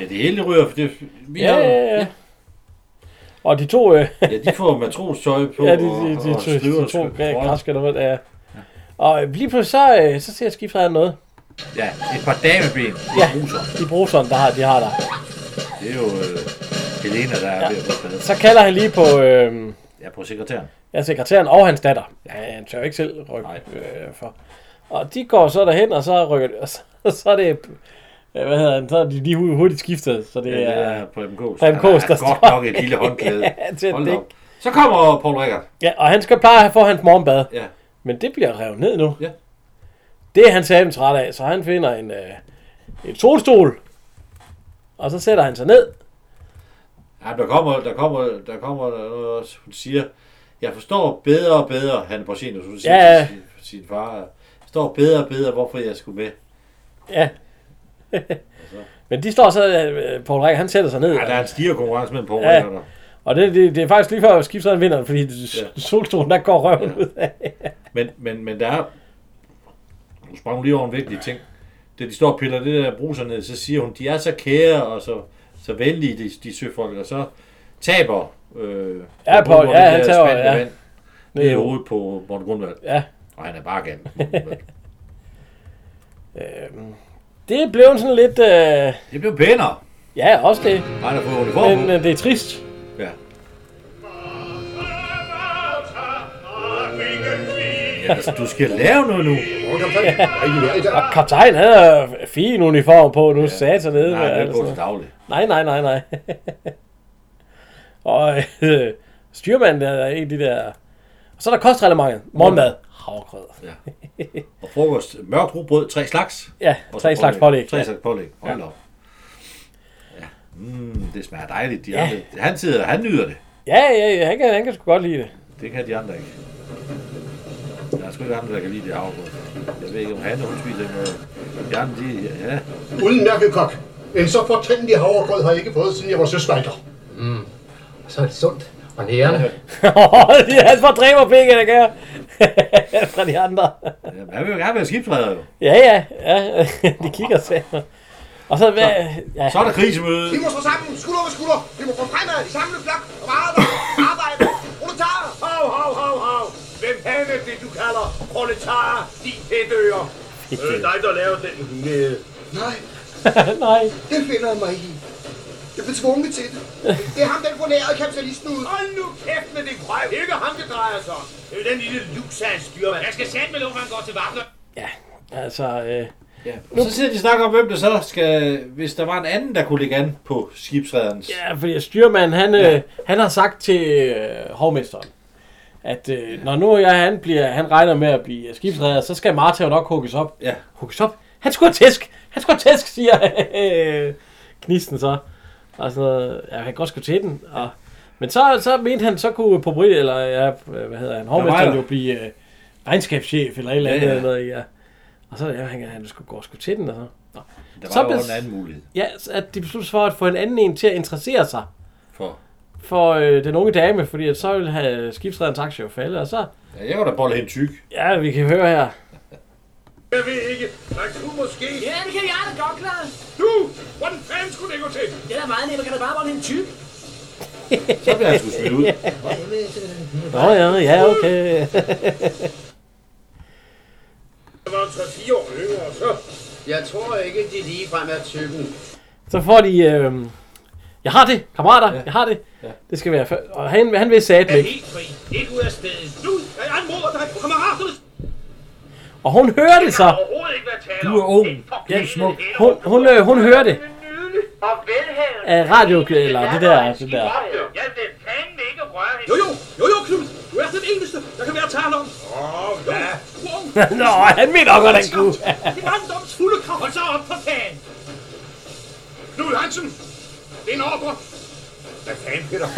Ja, det hele ryger, for det... Vi ja, har, ja, ja. Og de to... Øh, ja, de får matrostøj på, ja, de, de, de, de, de, de to græske, eller hvad det er. Og øh, lige pludselig, så, øh, så ser skibsrederen noget. Ja, et par dameben. Ja, de bruseren, der har, de har der. Det er jo øh, Helena, der er ja. ved at blive Så kalder han lige på øh, Ja, på sekretæren. ja, sekretæren og hans datter. Ja, han tør ikke selv rykke øh, for. Og de går så derhen, og så rykker de, og så, <laughs> og så er det... Ja, hvad hedder han? Så er de lige hu- hurtigt skiftet, så det Ja, det er... er Preben Kaas. Preben Han Kaas, har der godt står- nok et lille håndklæde. ja, til at Hold da dække. op. Så kommer Paul Rickard. Ja, og han skal pleje at få hans morgenbad. Ja. Men det bliver revet ned nu. Ja. Det er han sammen træt af, så han finder en, øh, en solstol. Og så sætter han sig ned. Ja, der kommer, der kommer, der kommer noget også, hun siger, jeg forstår bedre og bedre, han Borsinus, hun siger Ja, ja. ja. til sin, sin far, jeg forstår bedre og bedre, hvorfor jeg skulle med. Ja. Men de står så, øh, Paul Række, han sætter sig ned. Ja, der er en stiger konkurrence mellem Paul Ja. Rickard og Og det, det, det er faktisk lige før skibsrederen vinder, fordi ja. solstolen der går røven ja. ud af. Men, men, men der er... Nu sprang hun lige over en vigtig ting. Da de står og piller det der bruser ned, så siger hun, de er så kære og så, så venlige, de, de søfolk, og så taber... Øh, Ja, på, Paul, ja, han taber, ja. Vand, Ned i ned i hovedet på Morten Grundvald. Ja. Og han er bare galt. Øhm, det blev sådan lidt... Øh... Det blev pænere. Ja, også det. Han har fået uniform. Men øh, det er trist. Ja. Ja, altså, du skal lave noget nu. Og kaptajn, han har fin uniform på nu, ja. satan nede. Nej, det er altså. på til daglig. Nej, nej, nej, <laughs> nej. og øh, styrmanden der er en af de der... Og så er der kostreglementet. Morgenmad. Havregrød. Ja. Og frokost, mørkt rugbrød, tre slags. Ja, Og så tre slags pålæg. Tre Ja. slags pålæg. Hold Ja. ja. op. Ja. Mm, det smager dejligt. De Ja. ja. andre. Han, sidder, han nyder det. Ja, ja, ja han, kan, han kan sgu godt lide det. Det kan de andre ikke. Der er sgu ikke andre, der kan lide det havregrød. Jeg ved ikke, om han hun spiser ikke noget. De andre, de, ja. Udmærket kok. En så fortændelig havregrød har jeg ikke fået, siden jeg var søsvejder. Mm. Så er det sundt og nærende. det er han fordriver penge, der gør. <laughs> Fra de andre. Jamen, han vil jo gerne være skibsredder, jo. Ja, ja, ja. <laughs> De kigger sammen. Og så, hvad, ja. Så er der krisemøde. Vi må stå sammen, skulder ved skulder. Vi må gå fremad i samlet flok og arbejde, arbejde. Proletarer. Hav, hav, hav, hav. Hvem fanden er det, du kalder proletarer, de hætører? Øh, dig, der lavede den hunde. Nej, <laughs> Nej. det finder jeg mig ikke i. Jeg blev tvunget til det. Det er ham, den fornærede kapitalisten ud. Hold nu kæft med det krøv. Det er ikke ham, det drejer sig om. Det er jo den lille lus af en styrmand. Jeg skal sætte med nogen, han går til vagter. Altså, øh, Ja. Og så sidder de og snakker om, hvem der så skal... Hvis der var en anden, der kunne ligge an på skibsredderens... ja, fordi styrmanden, han, ja. øh, han har sagt til øh, hovmesteren, at øh, når nu jeg, han, bliver, han regner med at blive skibsredder, så skal Martha jo nok hugges op. Ja. Hugges op? Han skulle have tæsk! Han skulle have tæsk, siger øh, knisten så. Og sådan noget. Ja, han kan godt skulle til den. Og, men så, så mente han, så kunne Pobri, eller ja, hvad hedder han, hovmesteren der. jo blive øh, regnskabschef, eller et eller Ja, andet. Ja, ja. ja. Noget, ja. Og så ja, han, han skulle gå og skulle til den, og så. Nå. Der var så jo bes- en anden mulighed. Ja, så at de besluttede sig for at få en anden en til at interessere sig For. for øh, den unge dame, fordi at så ville have skibsredderens aktie jo falde, og så... Ja, jeg var da bolle helt tyk. Ja, vi kan høre her. Jeg ved ikke. Nej, du måske. Ja, det kan jeg da godt klare. Du! Hvordan fanden skulle det gå til? Det er da meget nemt, man kan da bare holde en tyk. Så bliver han sgu smidt ud. Nå ja, ja, okay. Jeg var 3-4 år yngre, og så... Jeg tror ikke, de ligefrem er typen. så får de... Øh, jeg har det, kammerater, ja. jeg har det. Ja. Det skal være... før- Og han, han vil Er satblik. helt fri. Ikke ud af stedet. Nu er jeg en mor, der er kammeraterne. Og hun hører det så. Du er ung. Ja, smuk. Hun, hun, øh, hun hører det. Af radio, eller det der, det der. Jo, jo, jo, jo, Knud. Du er den eneste, der kan være tale om. Åh, oh, hvad? <laughs> Nå, han mener godt, han kunne. Det var en doms fulde krav. Hold så op for fanden. Knud Hansen. Det er en ordre. Hvad fanden, <laughs> Peter?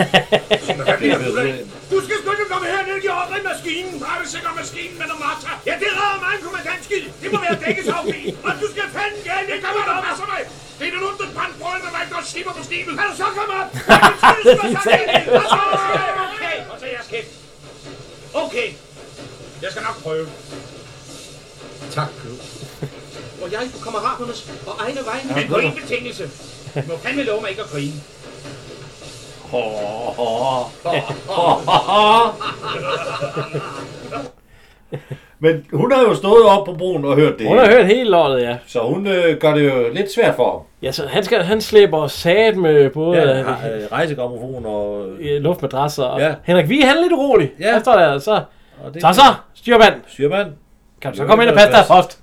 Hvad bliver du af? Du skal sgu ikke komme herned i ordre i maskinen. Bare vi sikrer maskinen med noget mata. Ja, det redder mig en kommandantskid. Det må være dækkes af Og du skal fanden gerne ikke komme op. Passer mig. Det er den onde brandbrød, der var ikke noget skipper på skibet. Kan du så komme <laughs> op? <laughs> Okay, og så jeres kæft. Okay. Jeg skal nok prøve. Tak, Knud. Og jeg på kammeraternes og egne vegne. Men på en betingelse. Du må fandme love mig ikke at grine. <laughs> Men hun har jo stået op på broen og hørt det Hun har hørt hele lortet, ja. Så hun øh, gør det jo lidt svært for ham. Ja, så han, skal, han slæber sat med både Ja, ja, har, øh, rejsegrammofon og... Øh, luftmadrasser. Og Ja. ja. Henrik Vi, han er lidt urolig. Ja. Han står der, så... Og det- så så, styrmand. Styrmand. Kan du så Jo, komme ind og det er passe dig plads. først?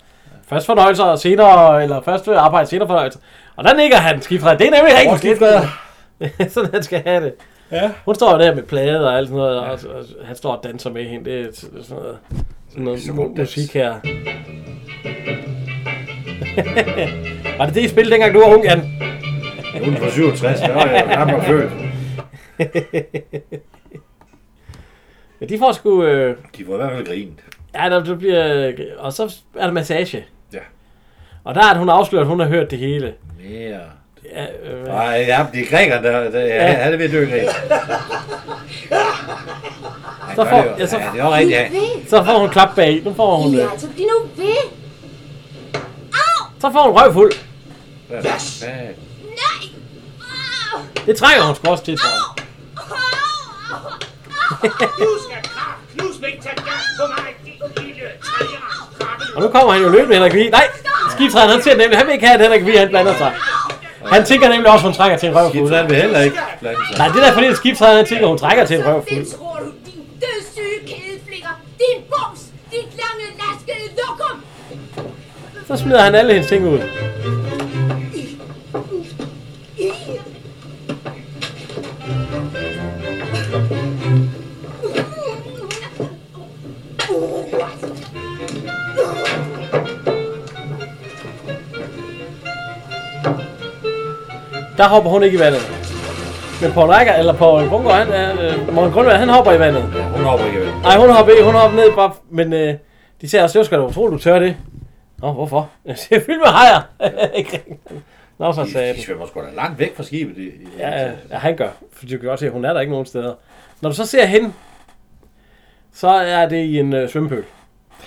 Først fornøjelser, og senere, eller først arbejde, senere fornøjelser. Og der nikker han skifred. Det er nemlig Åh, rigtig skifred. <laughs> Sådan han skal have det. Ja. Hun står der med plade og alt sådan noget, ja. og, og, han står og danser med hende. Det er sådan noget, sådan noget Så så god god musik her. <laughs> var det det, I spillede dengang du var ung, Jan? Hun er fra 67, der var jeg jo gammel og født. ja, de får sgu... Øh... De får i hvert fald grinet. Ja, der, der bliver... Og så er der massage. Ja. Og der er, at hun afslører, at hun har hørt det hele. Ja. Ja, øh, Nej, ja, det er grækerne, der, der ja. Ja. han er ved at dø grin. så gør får, det jo. ja, så, Ja, det er også rigtigt, ja. så får hun klap bag. Nu får hun... Øh, Ja, så bliv Altså, nu ved. så får hun røvfuld. Ja. Det trænger hun sgu også til, tror jeg. Du skal kraft knusme ikke tage gas på mig, din lille træer. Og nu kommer han jo løbende, Henrik Vi. Nej, skibsræden, han ser nemlig, han vil ikke have, at Henrik Vi, han blander sig. Han tænker nemlig også, at hun trækker til en røvfuld. Skibsræden vil heller ikke blande sig. Nej, det er da fordi, at skibsræden, han tænker, at hun trækker til en røvfuld. Det tror du, din dødssyge kædeflikker. Din bums. Dit lange, laskede lokum. Så smider han alle hendes ting ud. Der hopper hun ikke i vandet. Men Paul Rækker, eller Paul Bunker, han er, øh, Morten Grundvær, han hopper i vandet. Ja, hun hopper ikke vel. Nej, hun hopper ikke, hun hopper ned bare, men øh, de ser også, jeg skal da utroligt, du tør det. Nå, hvorfor? <laughs> Jeg siger, fyld med hajer. <laughs> Nå, for De, sagde de svømmer sgu da langt væk fra skibet. Det, det, Ja, ja, han gør. For du kan godt se, at hun er der ikke nogen steder. Når du så ser hende, så er det i en øh, svømmepøl.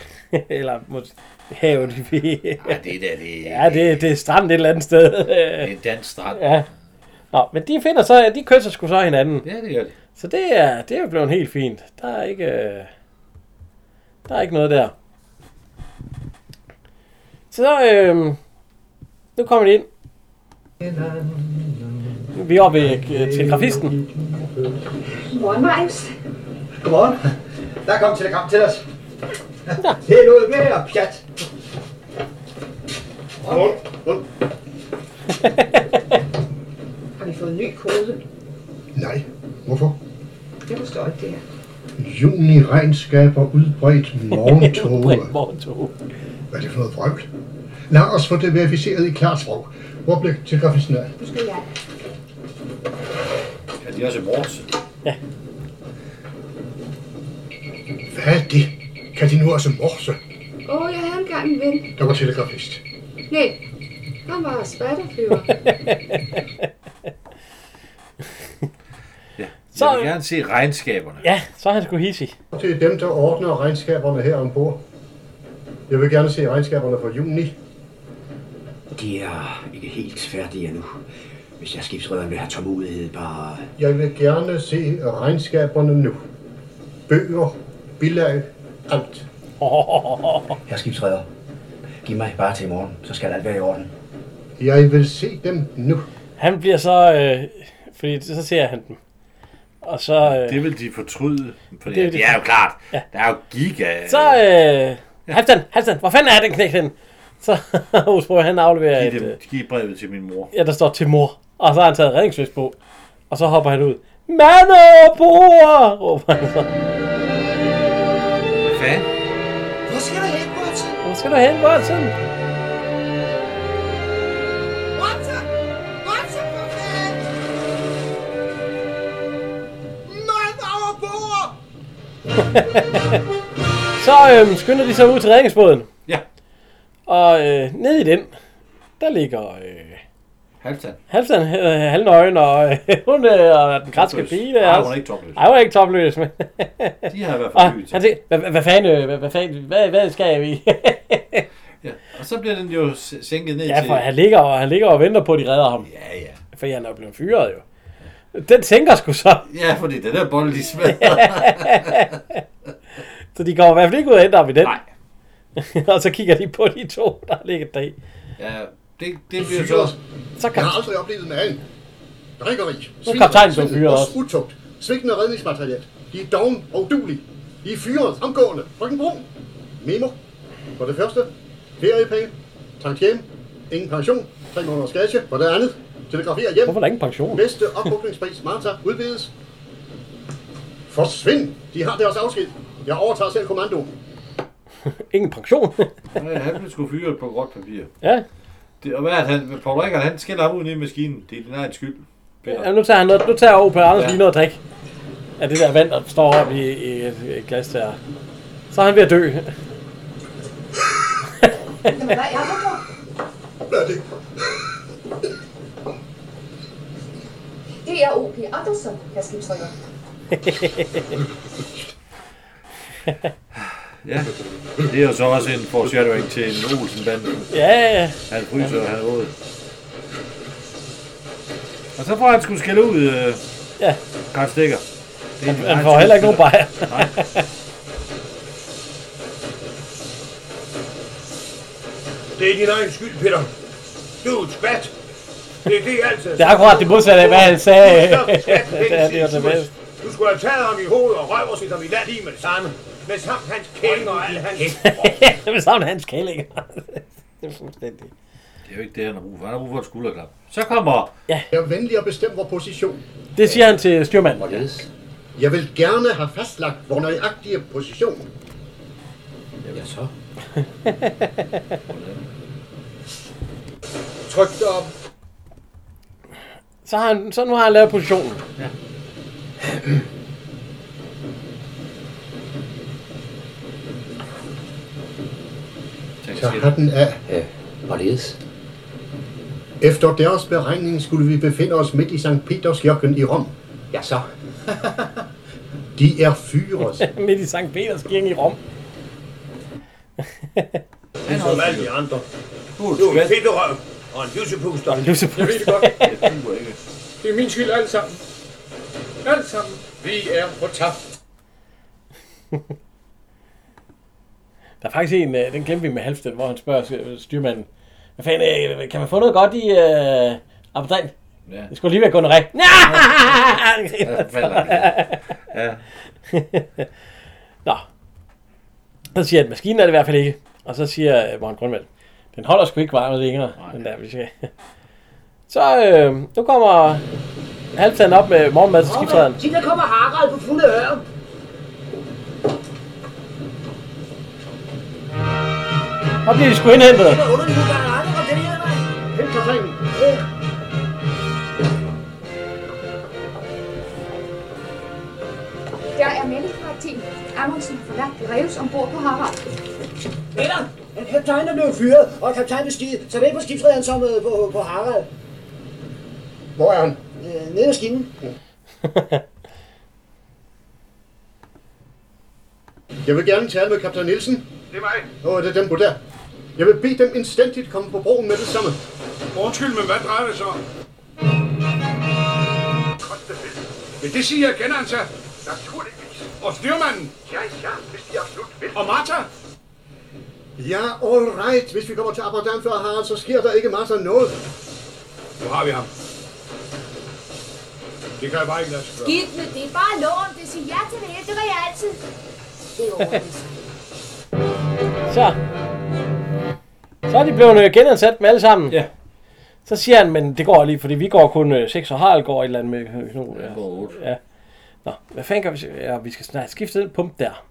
<laughs> Eller måske havet. Nej, det der, det... Ja, det, det er stranden et eller andet sted. <laughs> det er en dansk strand. Ja. Nå, men de finder så, de kysser sgu så hinanden. Ja, det gør de. Så det er, det er jo blevet helt fint. Der er ikke, øh, der er ikke noget der. Så, øh, nu kommer de ind. Vi er oppe ved øh, telegrafisten. Godmorgen, Marius. Godmorgen. Der kom telegram til os. Det er noget mere pjat. Har vi fået en ny kode? Nej, hvorfor? Jeg forstår ikke det her. Juni regnskaber udbredt morgentoge. morgentoge. Hvad er det for noget vrøvl? Lad os få det verificeret i klart sprog. Hvor blev telegrafisten af? Nu skal jeg. Ja, de er også i morges. Hvad er det? Kan de nu også morse? Åh, oh, jeg havde engang en ven. Der var telegrafist. Nej, han var spatterflyver. Ja. Så, Jeg vil gerne se regnskaberne. ja, så er han sgu hissig. Det er dem, der ordner regnskaberne her ombord. Jeg vil gerne se regnskaberne for juni. De er ikke helt færdige endnu. Hvis jeg skibsrederen vil have tålmodighed, bare... Jeg vil gerne se regnskaberne nu. Bøger, bilag, alt. Herre skibsredder, giv mig bare til i morgen, så skal alt være i orden. Jeg vil se dem nu. Han bliver så... Øh, fordi så ser han dem. Og så... Øh, Det vil de fortryde. For Det er det. det, det er jo klart. Der er jo giga... Så, øh, Halvdan, Halvdan, hvor fanden er den knægt henne? Så <laughs> Osbro, han afleverer Giv, et, dem, øh, giv brevet til min mor. ja, der står til mor. Og så har han taget redningsvest på. Og så hopper han ud. Mand over bord! råber han så. Hvad fanden? Hvor skal du hen, Watson? Hvor skal du hen, Watson? Watson! Watson, for fanden! Mand over bord! Så øhm, skynder de sig ud til redningsbåden. Ja. Og øh, ned i den, der ligger øh, Halvdan. Halvdan øh, halvnøgen og øh, <laughs> hun øh, og den græske Topløs. pige der. Ej, hun er også. ikke topløs. Ej, hun er ikke topløs. <laughs> Men... De har i hvert og, fald lyst. han siger, hvad, hvad fanden, øh, hvad, hvad, fanden, hvad, hvad skal vi? <laughs> Ja. Og så bliver den jo s- sænket ned ja, til... for han ligger, og, han ligger og venter på, at de redder ham. Ja, ja. For han er jo blevet fyret jo. Den tænker sgu så. Ja, fordi den der <laughs> bold lige smadrer. så de kommer i hvert fald ikke ud og henter ham i den. Nej. <laughs> og så kigger de på de to, der ligger deri. Ja, det, det bliver så- Så Jeg har aldrig oplevet magen. Drikkeri, svin, kaptajnen blev svindel fyret og også. utugt, svigtende redningsmateriel. De er doven og dulige. De er fyret omgående. Frygten brun. Memo. For det første, feriepenge, tank hjem, ingen pension, tre måneders gage. For det andet, telegrafere hjem. Hvorfor er der ingen pension? Næste oprykningspris, Marta, udvides. Forsvind! De har deres afsked. Jeg overtager selv kommandoen. Ingen pension. <laughs> Ja, han blev sgu fyret på gråt papir. Ja. Det, og hvad er det, han, Paul Rikard, han skælder ham ud ned i maskinen. Det er din egen skyld. Peter. Ja, nu tager han noget, nu tager over på Anders Ja. lige noget at drikke. Af det der vand, der står op i, i et, et glas der. Så er han ved at dø. <laughs> Jamen, hvad er det for? Hvad er det? Det er O.P. Andersen, herre skibsredder. Ja. Det er jo så også en foreshadowing til en Olsen-bande. Ja. Han fryser, og han er våd. Og så får han sgu skælde ud, øh, ja. Karl Stikker. Det er din Han egen får heller ikke nogen skyld. bajer. Nej. Det er din egen skyld, Peter. Du er et skvat. Det er det altid. Det er akkurat det modsatte af, hvad han <laughs> sagde. <laughs> Du er et skvat, Det er det, jeg tager <laughs> med. Du skulle have taget ham i hovedet og røv og set ham i land i med det samme. Med samt hans kælling og alle hans... <laughs> Jeg vil savne hans kællinger. <laughs> det er fuldstændig. Det er jo ikke det, han har brug for. Han har brug for et skulderklap. Så kommer... Ja. Jeg er venlig at bestemme vores position. Det siger han til styrmanden. Jeg vil gerne have fastlagt vores nøjagtige position. Ja, så. Tryk dig op. Så, har han, så nu har han lavet positionen. Ja. Så hatten af. Ja, hvorledes? Efter deres beregning skulle vi befinde os midt i Sankt Peterskirken i Rom. Ja, så. De er fyret. Midt i Sankt Peters kirke i Rom. Ligesom alle de andre. Du er en fedterøv og en lussepuster. en lussepuster. Jeg ved det godt. ikke. Det er min skyld alt sammen. Alt sammen. Vi er på tabt. Der er faktisk en, øh, den glemte vi med Halfted, hvor han spørger øh, styrmanden. Hvad fanden, øh, kan man få noget godt i øh, appelsin? Ja. Det skulle lige være <laughs> gonoré. Ja, hvad er det? Ja. Nå. Så siger han, maskinen er det i hvert fald ikke. Og så siger øh, Morten Grundvald, den holder sgu ikke varmet længere, den der, vi skal. <laughs> Så øh, nu kommer Halvdan op med morgenmad til skibsrederen. Sig, der kommer Harald på fulde øre. Og bliver de sgu indhentet. Det er underligt, at der er andre, det her, nej. Hent kaptajnen. Der er melding fra et team. Amundsen har forladt Reus ombord på Harald. Peter, en kaptajn er blevet fyret, og kaptajn bestiget. Så det er på skibsrederen som øh, på, på Harald. Hvor er han? Øh, nede i maskinen. Jeg vil gerne tale med kaptajn Nielsen. Det er mig. Åh, det er dem på der. Jeg vil bede dem instantigt komme på broen med det samme. Undskyld, men hvad drejer det sig om? Vil det sige, at jeg kender hans her? Naturligvis. Og styrmanden? Ja, ja, hvis de absolut vil. Og Martha? Ja, all right. Hvis vi kommer til Aberdeen før Harald, så sker der ikke masser af noget. Nu har vi ham. Det kan jeg bare ikke lade sig gøre. Skidt med det. Bare lån det. Sig ja til det hele. Det gør jeg altid. Det er ordentligt. Så. Så er de blevet øh, genansat med alle sammen. Ja. Så siger han, men det går lige, fordi vi går kun øh, 6, og Harald går et eller andet med... Øh, nu, ja, går 8. Ja. Nå, hvad fanden gør vi? så? Ja, vi skal snart skifte den pump der.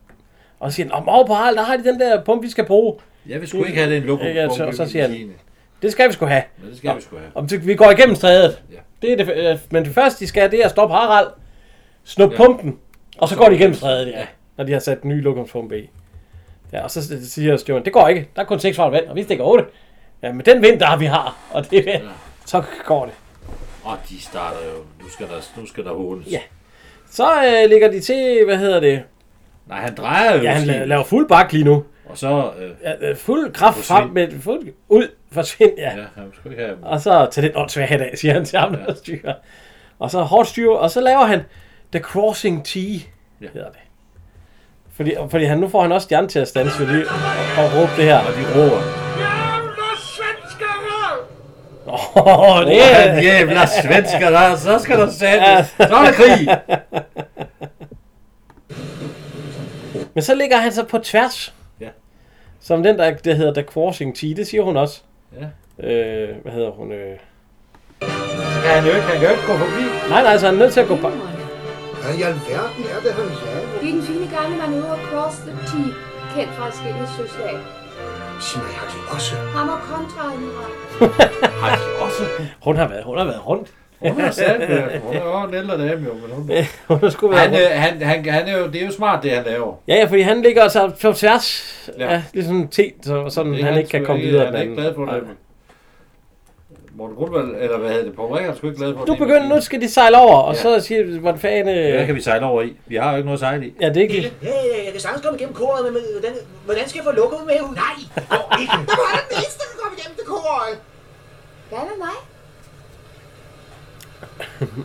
Og så siger han, om over på Harald, der har de den der pump, vi skal bruge. Jeg vil sgu ikke have den lokum- Ja, så, pumpe og så i siger han, Kina. det skal vi sgu have. Ja, det skal vi sgu have. Om det- vi går igennem strædet. Ja. Det er det, øh, men det første, de skal, det er at stoppe Harald, snuppe Ja. ja. pumpen, og så går de igennem strædet, ja. Når de har sat den nye lokumspumpe i. Ja, og så siger styrmanden, det går ikke. Der er kun 6 grader vand, og vi stikker 8. Ja, men den vind, der vi har, og det, ja. så går det. Og de starter jo. Nu skal der, nu skal der hånes. Ja. Så øh, ligger de til, hvad hedder det? Nej, han drejer jo Ja, han sin- la- laver fuld bak lige nu. Og så... Øh, Ja, øh, fuld kraft Forsvind. frem med fuld ud, forsvind, ja. ja, han skulle ikke have dem. Og så tag den åndssvage hat af, siger han til ham, der styrer. Og så hårdt styr, og så laver han The Crossing T, ja. hedder det. Fordi, fordi han, nu får han også stjerne til at stanse ved lige og, og råbe det her. Og de råber. Jævla svenskere! Åh, oh, det Åh, er... jævla svensker, der- så skal der sættes. Så er der krig. Men så ligger han så på tværs. Ja. Som den, der, der hedder The Crossing T, det siger hun også. Ja. Øh, hvad hedder hun? Øh... Skal han jo ikke, han kan jo ikke gå forbi. Nej, nej, så han er nødt til at gå på... Hvad i alverden er det, han laver? Det er den fine gamle manøvre Cross the T, kendt fra forskellige søslag. Sig mig, har de også? Ham og kontraadmiral. Har de også? Hun har været, hun har været rundt. Hun er sat, ja. hun er jo en ældre dame jo, men hun... <laughs> hun er sgu han, være- øh, han, han, han, er jo, det er jo smart, det han laver. Ja, ja, fordi han ligger altså på tværs Ja. ja. af ligesom en te, så, sådan Det er han ikke kan sgu komme videre. Han er den ikke glad for anden. det. Morten Grundvald, eller hvad hedder det, Poul Rikker, er sgu ikke glad for Nu det. begynder, nu skal de sejle over, og så siger de, hvordan fanden... øh, Hvad kan vi sejle over i? Vi har jo ikke noget at sejle i. Ja, det er ikke... Ja, ja, jeg kan sagtens komme igennem koret, men men hvordan, hvordan skal jeg få lukket med ud? Nej! <laughs> Der var den eneste, der kom igennem det korøje. Hvad med mig?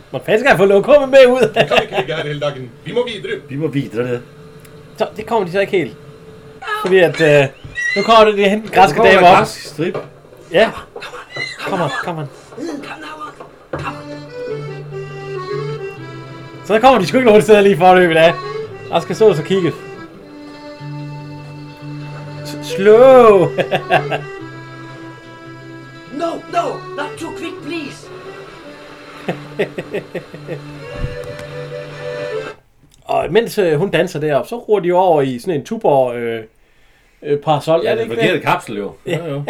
Hvordan fanden skal jeg få lokummet med ud? <laughs> Kom ikke gerne hele dagen. Vi må videre. Vi må videre det. Så det kommer de så ikke helt. Fordi at... Øh, nu kommer det, de hente den græske Nu kommer dame der op. græsk strip. Ja. Kom on, kom on. Så der kommer de sgu ikke nogen steder lige forløbet af. Der skal stå og kigge. S- Slow! <laughs> No, no, not too quick, please! og mens øh, hun danser deroppe, så ruer de over i sådan en tuborg øh, øh, parasol. Ja, er det den ikke forkerte kapsel jo. Ja. Jo, jo.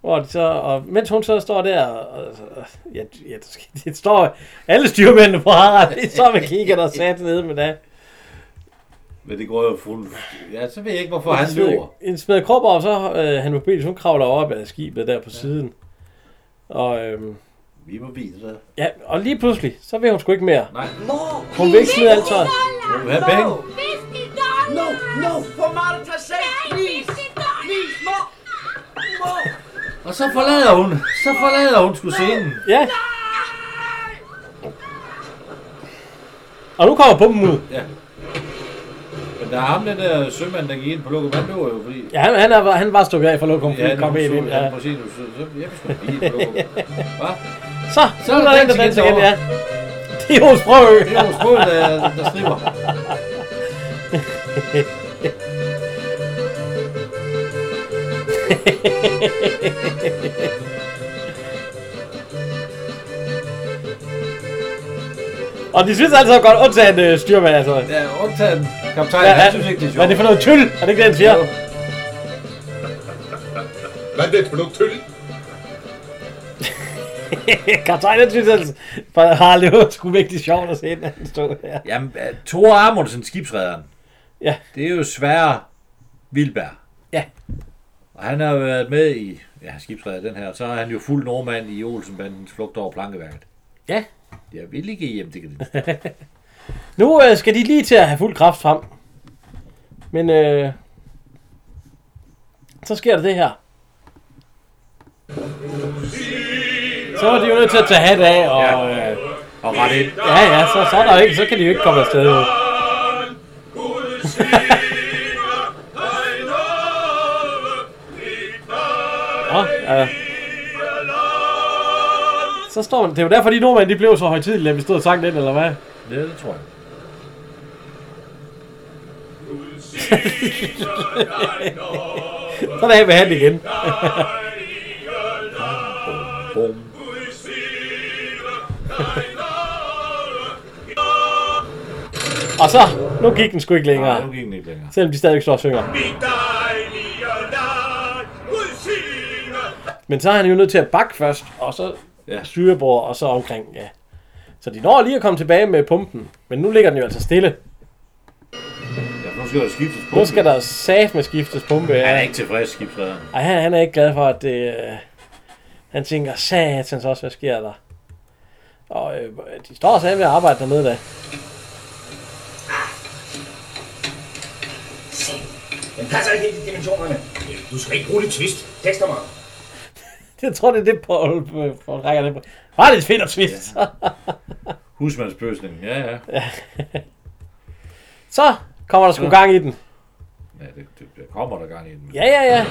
Hvor de så, og mens hun så står der, og, og, ja, ja, det sk- det står alle styrmændene på Harald, de står med kigger og sat nede med det. Men det går jo fuld... Ja, så ved jeg ikke, hvorfor han løber. En smed krop og så øh, han mobil, hun kravler op af skibet der på ja. siden. Og, øhm, Vi må videre. ja, og lige pludselig, så vil hun sgu ikke mere. Nej. Mor! Hun vil ikke smide alt tøjet. Hun vil have penge. 50 dollars! No, no, for Martha sake, please! Please, mor! Mor! Og så forlader hun. Så forlader hun sgu scenen. Ja. Og nu kommer pumpen ud. Ja. Men der er ham, den der sømand, der gik ind på lukket. Han løber jo, fordi... Ja, han, han, er, han var stukket af for at komme ja, nu kom helt så- ind. Ja, Ja. præcis. Nu, så, så, jeg vil sgu da blive på lukket. Hva? Så, så er der den, der danser igen, ja. Det er hos Brøø. Det er hos Brøø, der, der stripper. Og de synes altså godt, undtagen øh, styrmand, altså. Ja, undtagen kaptajn, han synes ikke, det er sjovt. Hvad er det for noget tyl? Er det ikke det, han siger? Jo. Hvad er det for noget tøl? <laughs> Kaptajn, han synes altså, for Harald, det var sgu vigtigt sjovt at se, når han stod her. Jamen, øh, Tore Amundsen, skibsredderen. Ja. Det er jo Sverre Vilberg. Ja. Og han har jo været med i ja, skibsredder den her. Så er han jo fuld nordmand i Olsenbandens flugt over plankeværket. Ja. Jeg vil ikke hjem, det kan det. Nu øh, skal de lige til at have fuld kraft frem. Men øh, så sker der det her. Så var de jo nødt til at tage hat af og... Ja. Øh, og ret ind. Ja, ja, så, så, er der jo ikke, så kan de jo ikke komme afsted. jo. Nå, ja. Så står man, det er jo derfor, de nordmænd de blev så højtidelige, da vi stod og sang den, eller hvad? Ja, det tror jeg. så er det af med han igen. Bum. og så, nu gik den sgu ikke længere. Nej, nu gik den ikke længere. Selvom de stadigvæk står og synger. Men så er han jo nødt til at bakke først, og så ja. styrebord, og så omkring, ja. Så de når lige at komme tilbage med pumpen, men nu ligger den jo altså stille. Ja, nu skal der skiftes pumpe. Nu skal der sat med skiftes pumpe. Han er Ja. ikke tilfreds, skibsrederen. Ej, han, han er ikke glad for, at det... Øh, han tænker, satans også, hvad sker der? Og øh, de står også ved at arbejde dernede da. Se, den passer ikke helt i dimensionerne. Du skal ikke bruge det twist. Tekster mig. Jeg tror, det er det, Paul, øh, Paul rækker det på. Var det et fedt og twist? Husmandsbøsning, ja, ja. Ja. Så kommer der sgu gang i den. Ja, det, det, der kommer der gang i den. Ja, ja, ja.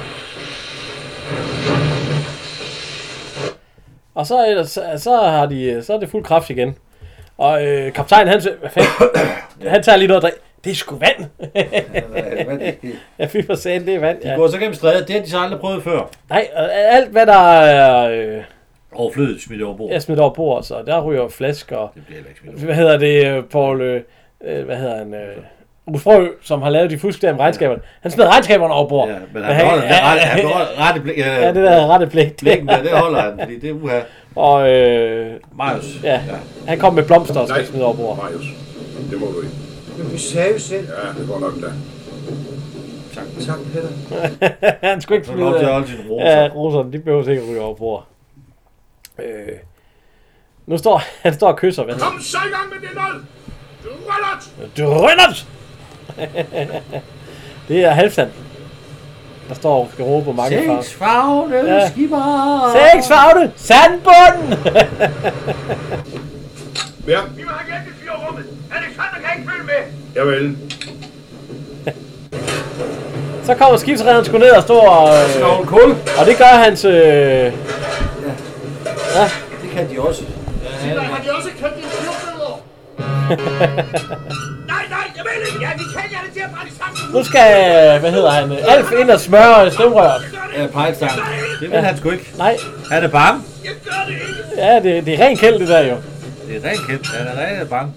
Og så, er der- så, så, har de, øh, så er det fuld kraft igen. Og øh, kaptajnen, han, siger, hvad <coughs> fanden? han tager lige noget at drikke. Det er sgu vand. <laughs> ja, fy for satan, det er vand. De går så gennem strædet, det har de så aldrig prøvet før. Nej, og alt hvad der er... Øh, Overflødigt smidt over bord. jeg smidt over bord, så der ryger flasker. Det bliver heller ikke smidt over. Hvad hedder det, øh, Paul? Øh, øh, hvad hedder han? Øh, Rus Frø, som har lavet de fusk der med regnskaberne. Han smed regnskaberne over bord. Ja, Men han beholder det rette, han beholder rette blik. <laughs> Ja, det der rette blik. Blikken der, det holder han, fordi det er uha. Og øh, Marius. Ja, han kom med blomster og smidte over bord. Marius, det må du ikke. Men vi sagde jo selv. Ja, det går nok da. Tak. Tak, Peter. han skulle ikke øh, Han får lov til at holde sine roser. Ja, roserne, de behøver ikke at ryge over bord. Øh, nu står <laughs> han står og kysser. Hvad hedder Kom så i gang med det, lol. Du røller. det? Drønnert! <laughs> det er Halvsand. Der står og skal råbe på mange farver. Seks farvede Ja. skipper. Seks farvede sandbund! Ja, Vi må have hjælp i fire rummet. Alexander kan ikke følge med. javel. <laughs> Så kommer skibsrederen sgu ned og står og... Øh, kul. Og det gør hans... Øh, ja. ja. Det kan de også. Se, der har de også købt en flyvebilleder. <laughs> Nej, nej, jeg vil ikke. Ja, vi kan ikke alle til at brænde sammen. Nu skal, hvad hedder han, øh, Alf ind og smøre stemrøret. Ja, pejlstang. Det vil Ja. han sgu ikke. Nej. Han er bange. Ja, det, det er rent kæld, det der jo. Det er rent kendt. Han er rent bange.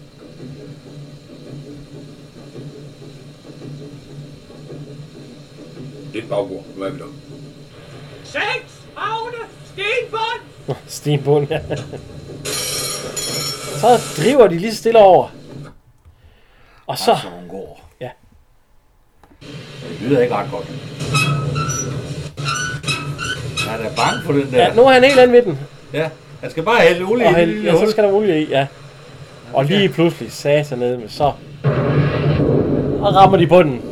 Det er et bagbord. Hvad er vi der? Seks havne, stenbånd. Stenbund, <laughs> ja. Så driver de lige stille over. Og så... Så hun går. Ja. Det lyder ikke ret godt. Han er bange for den der. Ja, nu er han helt anden ved den. Ja, han skal bare hælde olie Og i det hælde, lille ja, så hul. skal der olie i, ja. Og lige pludselig sagde sig ned med så. Og rammer de bunden. <laughs>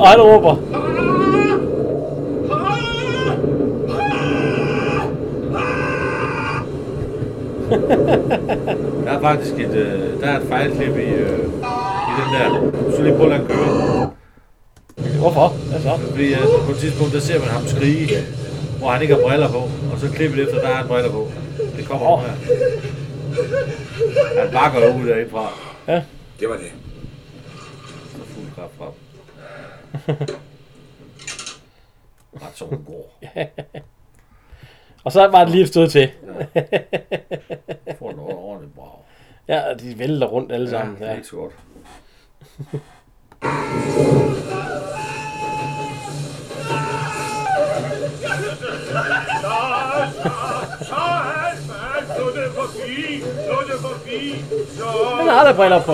og han råber. Ah! Der er faktisk et, øh, der er et fejlklip i, øh, i den der. Så lige prøv at lade den køre. Hvorfor? Hvad så? Fordi øh, på et tidspunkt, der ser man ham skrige, hvor han ikke har briller på. Og så klippet efter, der har han briller på. Det kommer oh. her. Han bakker jo ud derindfra. Ja. Det var det. Så fuld kraft <laughs> frem. Ret som hun går. Og så var det lige et stød til. Får den over ordentligt brav. ja, og de vælter rundt alle sammen. det er Ja. ikke så godt. Så er alt, alt, nu er det forbi. Nu er det forbi. Så... Han har aldrig briller på.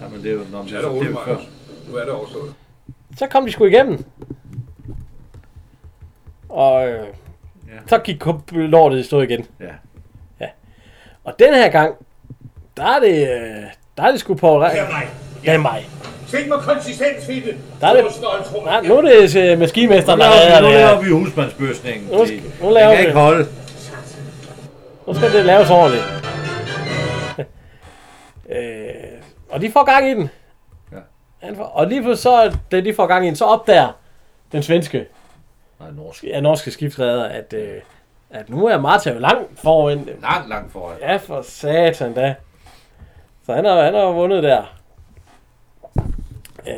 Ja, men det er jo, når man Ja, det er roligt, Marius. Nu er det overstået. Så kom de sgu igennem. Og øh, ja. så gik kup- lortet i stå igen. Ja. ja. Og den her gang, der er det, øh, der er det sgu på Det er mig. Det er mig. Stik mig konsistens i det. Der er det, nej, nu er det øh, maskinmesteren, Nu der er laver, vi, nu det her. laver vi husmandsbøsningen. Nu fordi nu laver vi den kan det. ikke holde. Nu skal det laves ordentligt. <laughs> øh, og de får gang i den. Ja. Han får- Og lige pludselig så, da de får gang i den, så opdager den svenske, Nej, norsk. ja, norske skibsredder, at, øh, at nu er Marta jo langt foran. dem. Langt, langt foran. Ja, for satan da. Så han har, han har vundet der. Øh,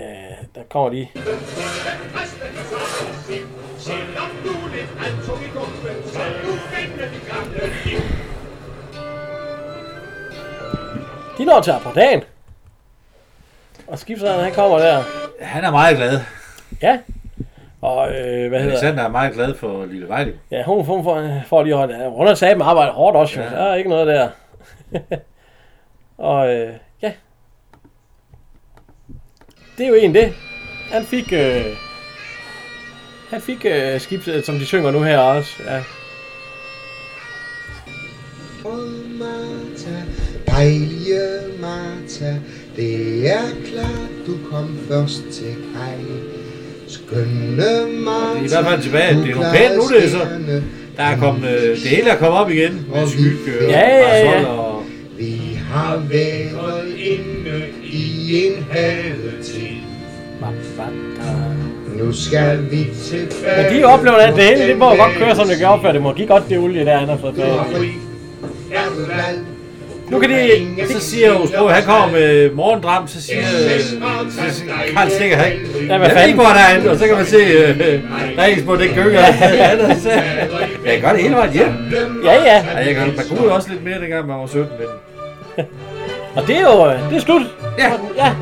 der kommer de. Selvom du lidt antog i gumpen, skal du vende de gamle liv. De når til Abradan. Og skibsrederen, han kommer der. Han er meget glad. Ja. Og øh, hvad hedder Alexander er meget glad for Lille Vejle. Ja, hun, hun får, får lige hånd. Ja, Hun har sat med arbejde hårdt også, ja. Ja. Der er ikke noget der. <laughs> og øh, ja. Det er jo egentlig det. Han fik... Øh, han fik øh, skibset, som de synger nu her også. Ja. Martha, dejlige Martha, det er klart, du kom først til kaj. Skønne Det Martha, er i hvert fald tilbage. Det er nogle pæne nu, det er så. Der er kommet, øh, det hele er kommet op igen. Med skygge og Ja, ja, ja. parasol og... Vi har været inde i en hadetid. Nu skal vi tilbage. Men de oplever at det hele, det må jo godt køre, som det gør før. Det må give godt det olie, der han har fået bag. Nu kan de... Så siger jo Sprog, han kommer med morgendram, så siger øh, så siger Karl Stikker, han Ja, hvad jeg ved fanden? ikke, hvor der er han, og så kan man se, øh, der er ikke på den gynger. Ja, jeg gør det hele vejen hjem. Ja, ja. Jeg gør det, man kunne jo også lidt mere, dengang man var 17, men... Og det er jo... øh, Det er slut. Ja. ja.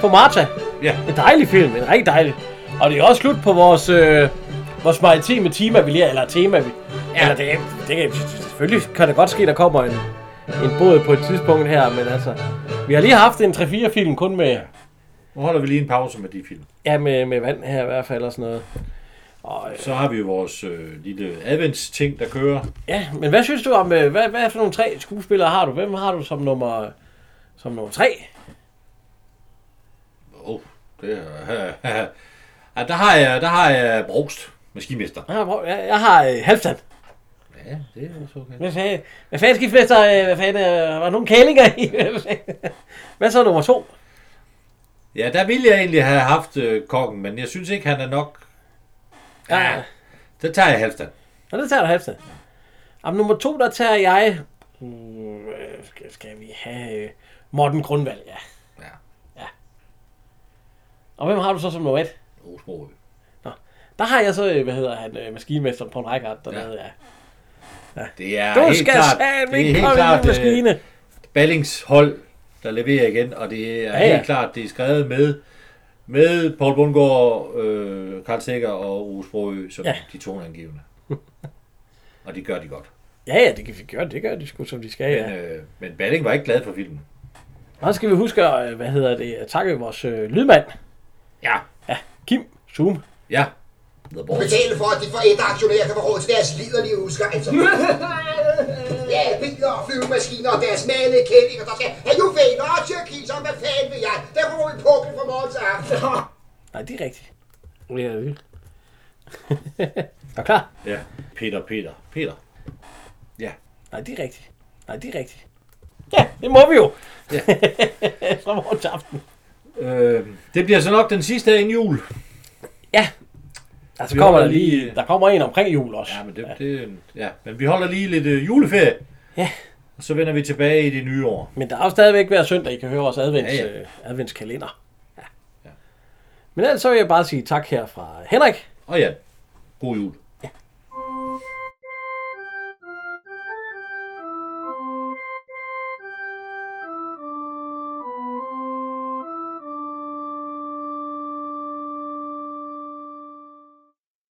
På Marta. Ja. En dejlig film. En rigtig dejlig. Og det er også slut på vores... Øh, vores maritime tema, vi lige... Eller tema, vi... Ja. Eller det, det kan, selvfølgelig kan det godt ske, der kommer en, en båd på et tidspunkt her, men altså... Vi har lige haft en 3-4 film kun med... Nu holder vi lige en pause med de film. Ja, med, med vand her i hvert fald og sådan noget. Og, øh, Så har vi jo vores øh, lille adventsting, der kører. Ja, men hvad synes du om, øh, hvad, hvad for nogle tre skuespillere har du? Hvem har du som nummer, som nummer tre? Åh, oh, det er... <laughs> ja, der har jeg, der har jeg Brogst, maskinmester. Jeg har, prøv- jeg, jeg har øh, Halvdan. Ja, det er også okay. Hvad fanden, hvad fanden skifter, øh, hvad fanden, øh, var der nogle kælinger i? <laughs> hvad så nummer to? Ja, der ville jeg egentlig have haft øh, kokken, men jeg synes ikke, han er nok... Ja, der tager jeg Halvdan. Nå, det tager du Halvdan. Om nummer to, der tager jeg... Mm, øh, skal, skal vi have øh, Morten Grundvald, ja. Ja. ja. Og hvem har du så som nummer et? Osmo. Nå, der har jeg så, øh, hvad hedder han, øh, maskinmesteren på en række dernede, ja. ja. Det er Du helt skal klart, satme det er ikke helt komme i den klart, øh, maskine. Ballings hold, der leverer igen, og det er Ja, ja, ja. ja. helt klart, det er skrevet med med Paul Bundgaard, øh, Karl Sækker og Osbroø som Ja. ja. de toneangivende. <laughs> og det gør de godt. Ja, ja, det kan vi gøre, det gør de sgu, som de skal, ja. Men, øh, men Balling var ikke glad for filmen. Og så skal vi huske, at, øh, hvad hedder det, at takke vores øh, lydmand. Ja. Ja, Kim Zoom. Ja. Du betaler for, at de forældre aktionærer kan få råd til deres liderlige <laughs> udskejelser. ja, biler og flyvemaskiner og deres malede kællinger, der skal have juveler og tyrkiser, hvad fanden vil jeg? Der får vi pukkel fra morgen til aften. <laughs> Nej, det er rigtigt. Ja, det er <laughs> Er du klar? Ja. Peter, Peter, Peter. Ja. Nej, det er rigtigt. Nej, det er rigtigt. Ja, det må vi jo. <laughs> Ja. Fra morgen til aften. Øh, det bliver så nok den sidste her inden jul. Ja. Der så kommer der lige, der kommer en omkring jul også. Ja, men det, det, ja. Men vi holder lige lidt øh, juleferie. Ja. Og så vender vi tilbage i det nye år. Men der er jo stadigvæk hver søndag, I kan høre vores advents, ja, Ja, ja. ja. Øh, adventskalender. Ja. ja. Men ellers så vil jeg bare sige tak her fra Henrik. Og ja, god jul.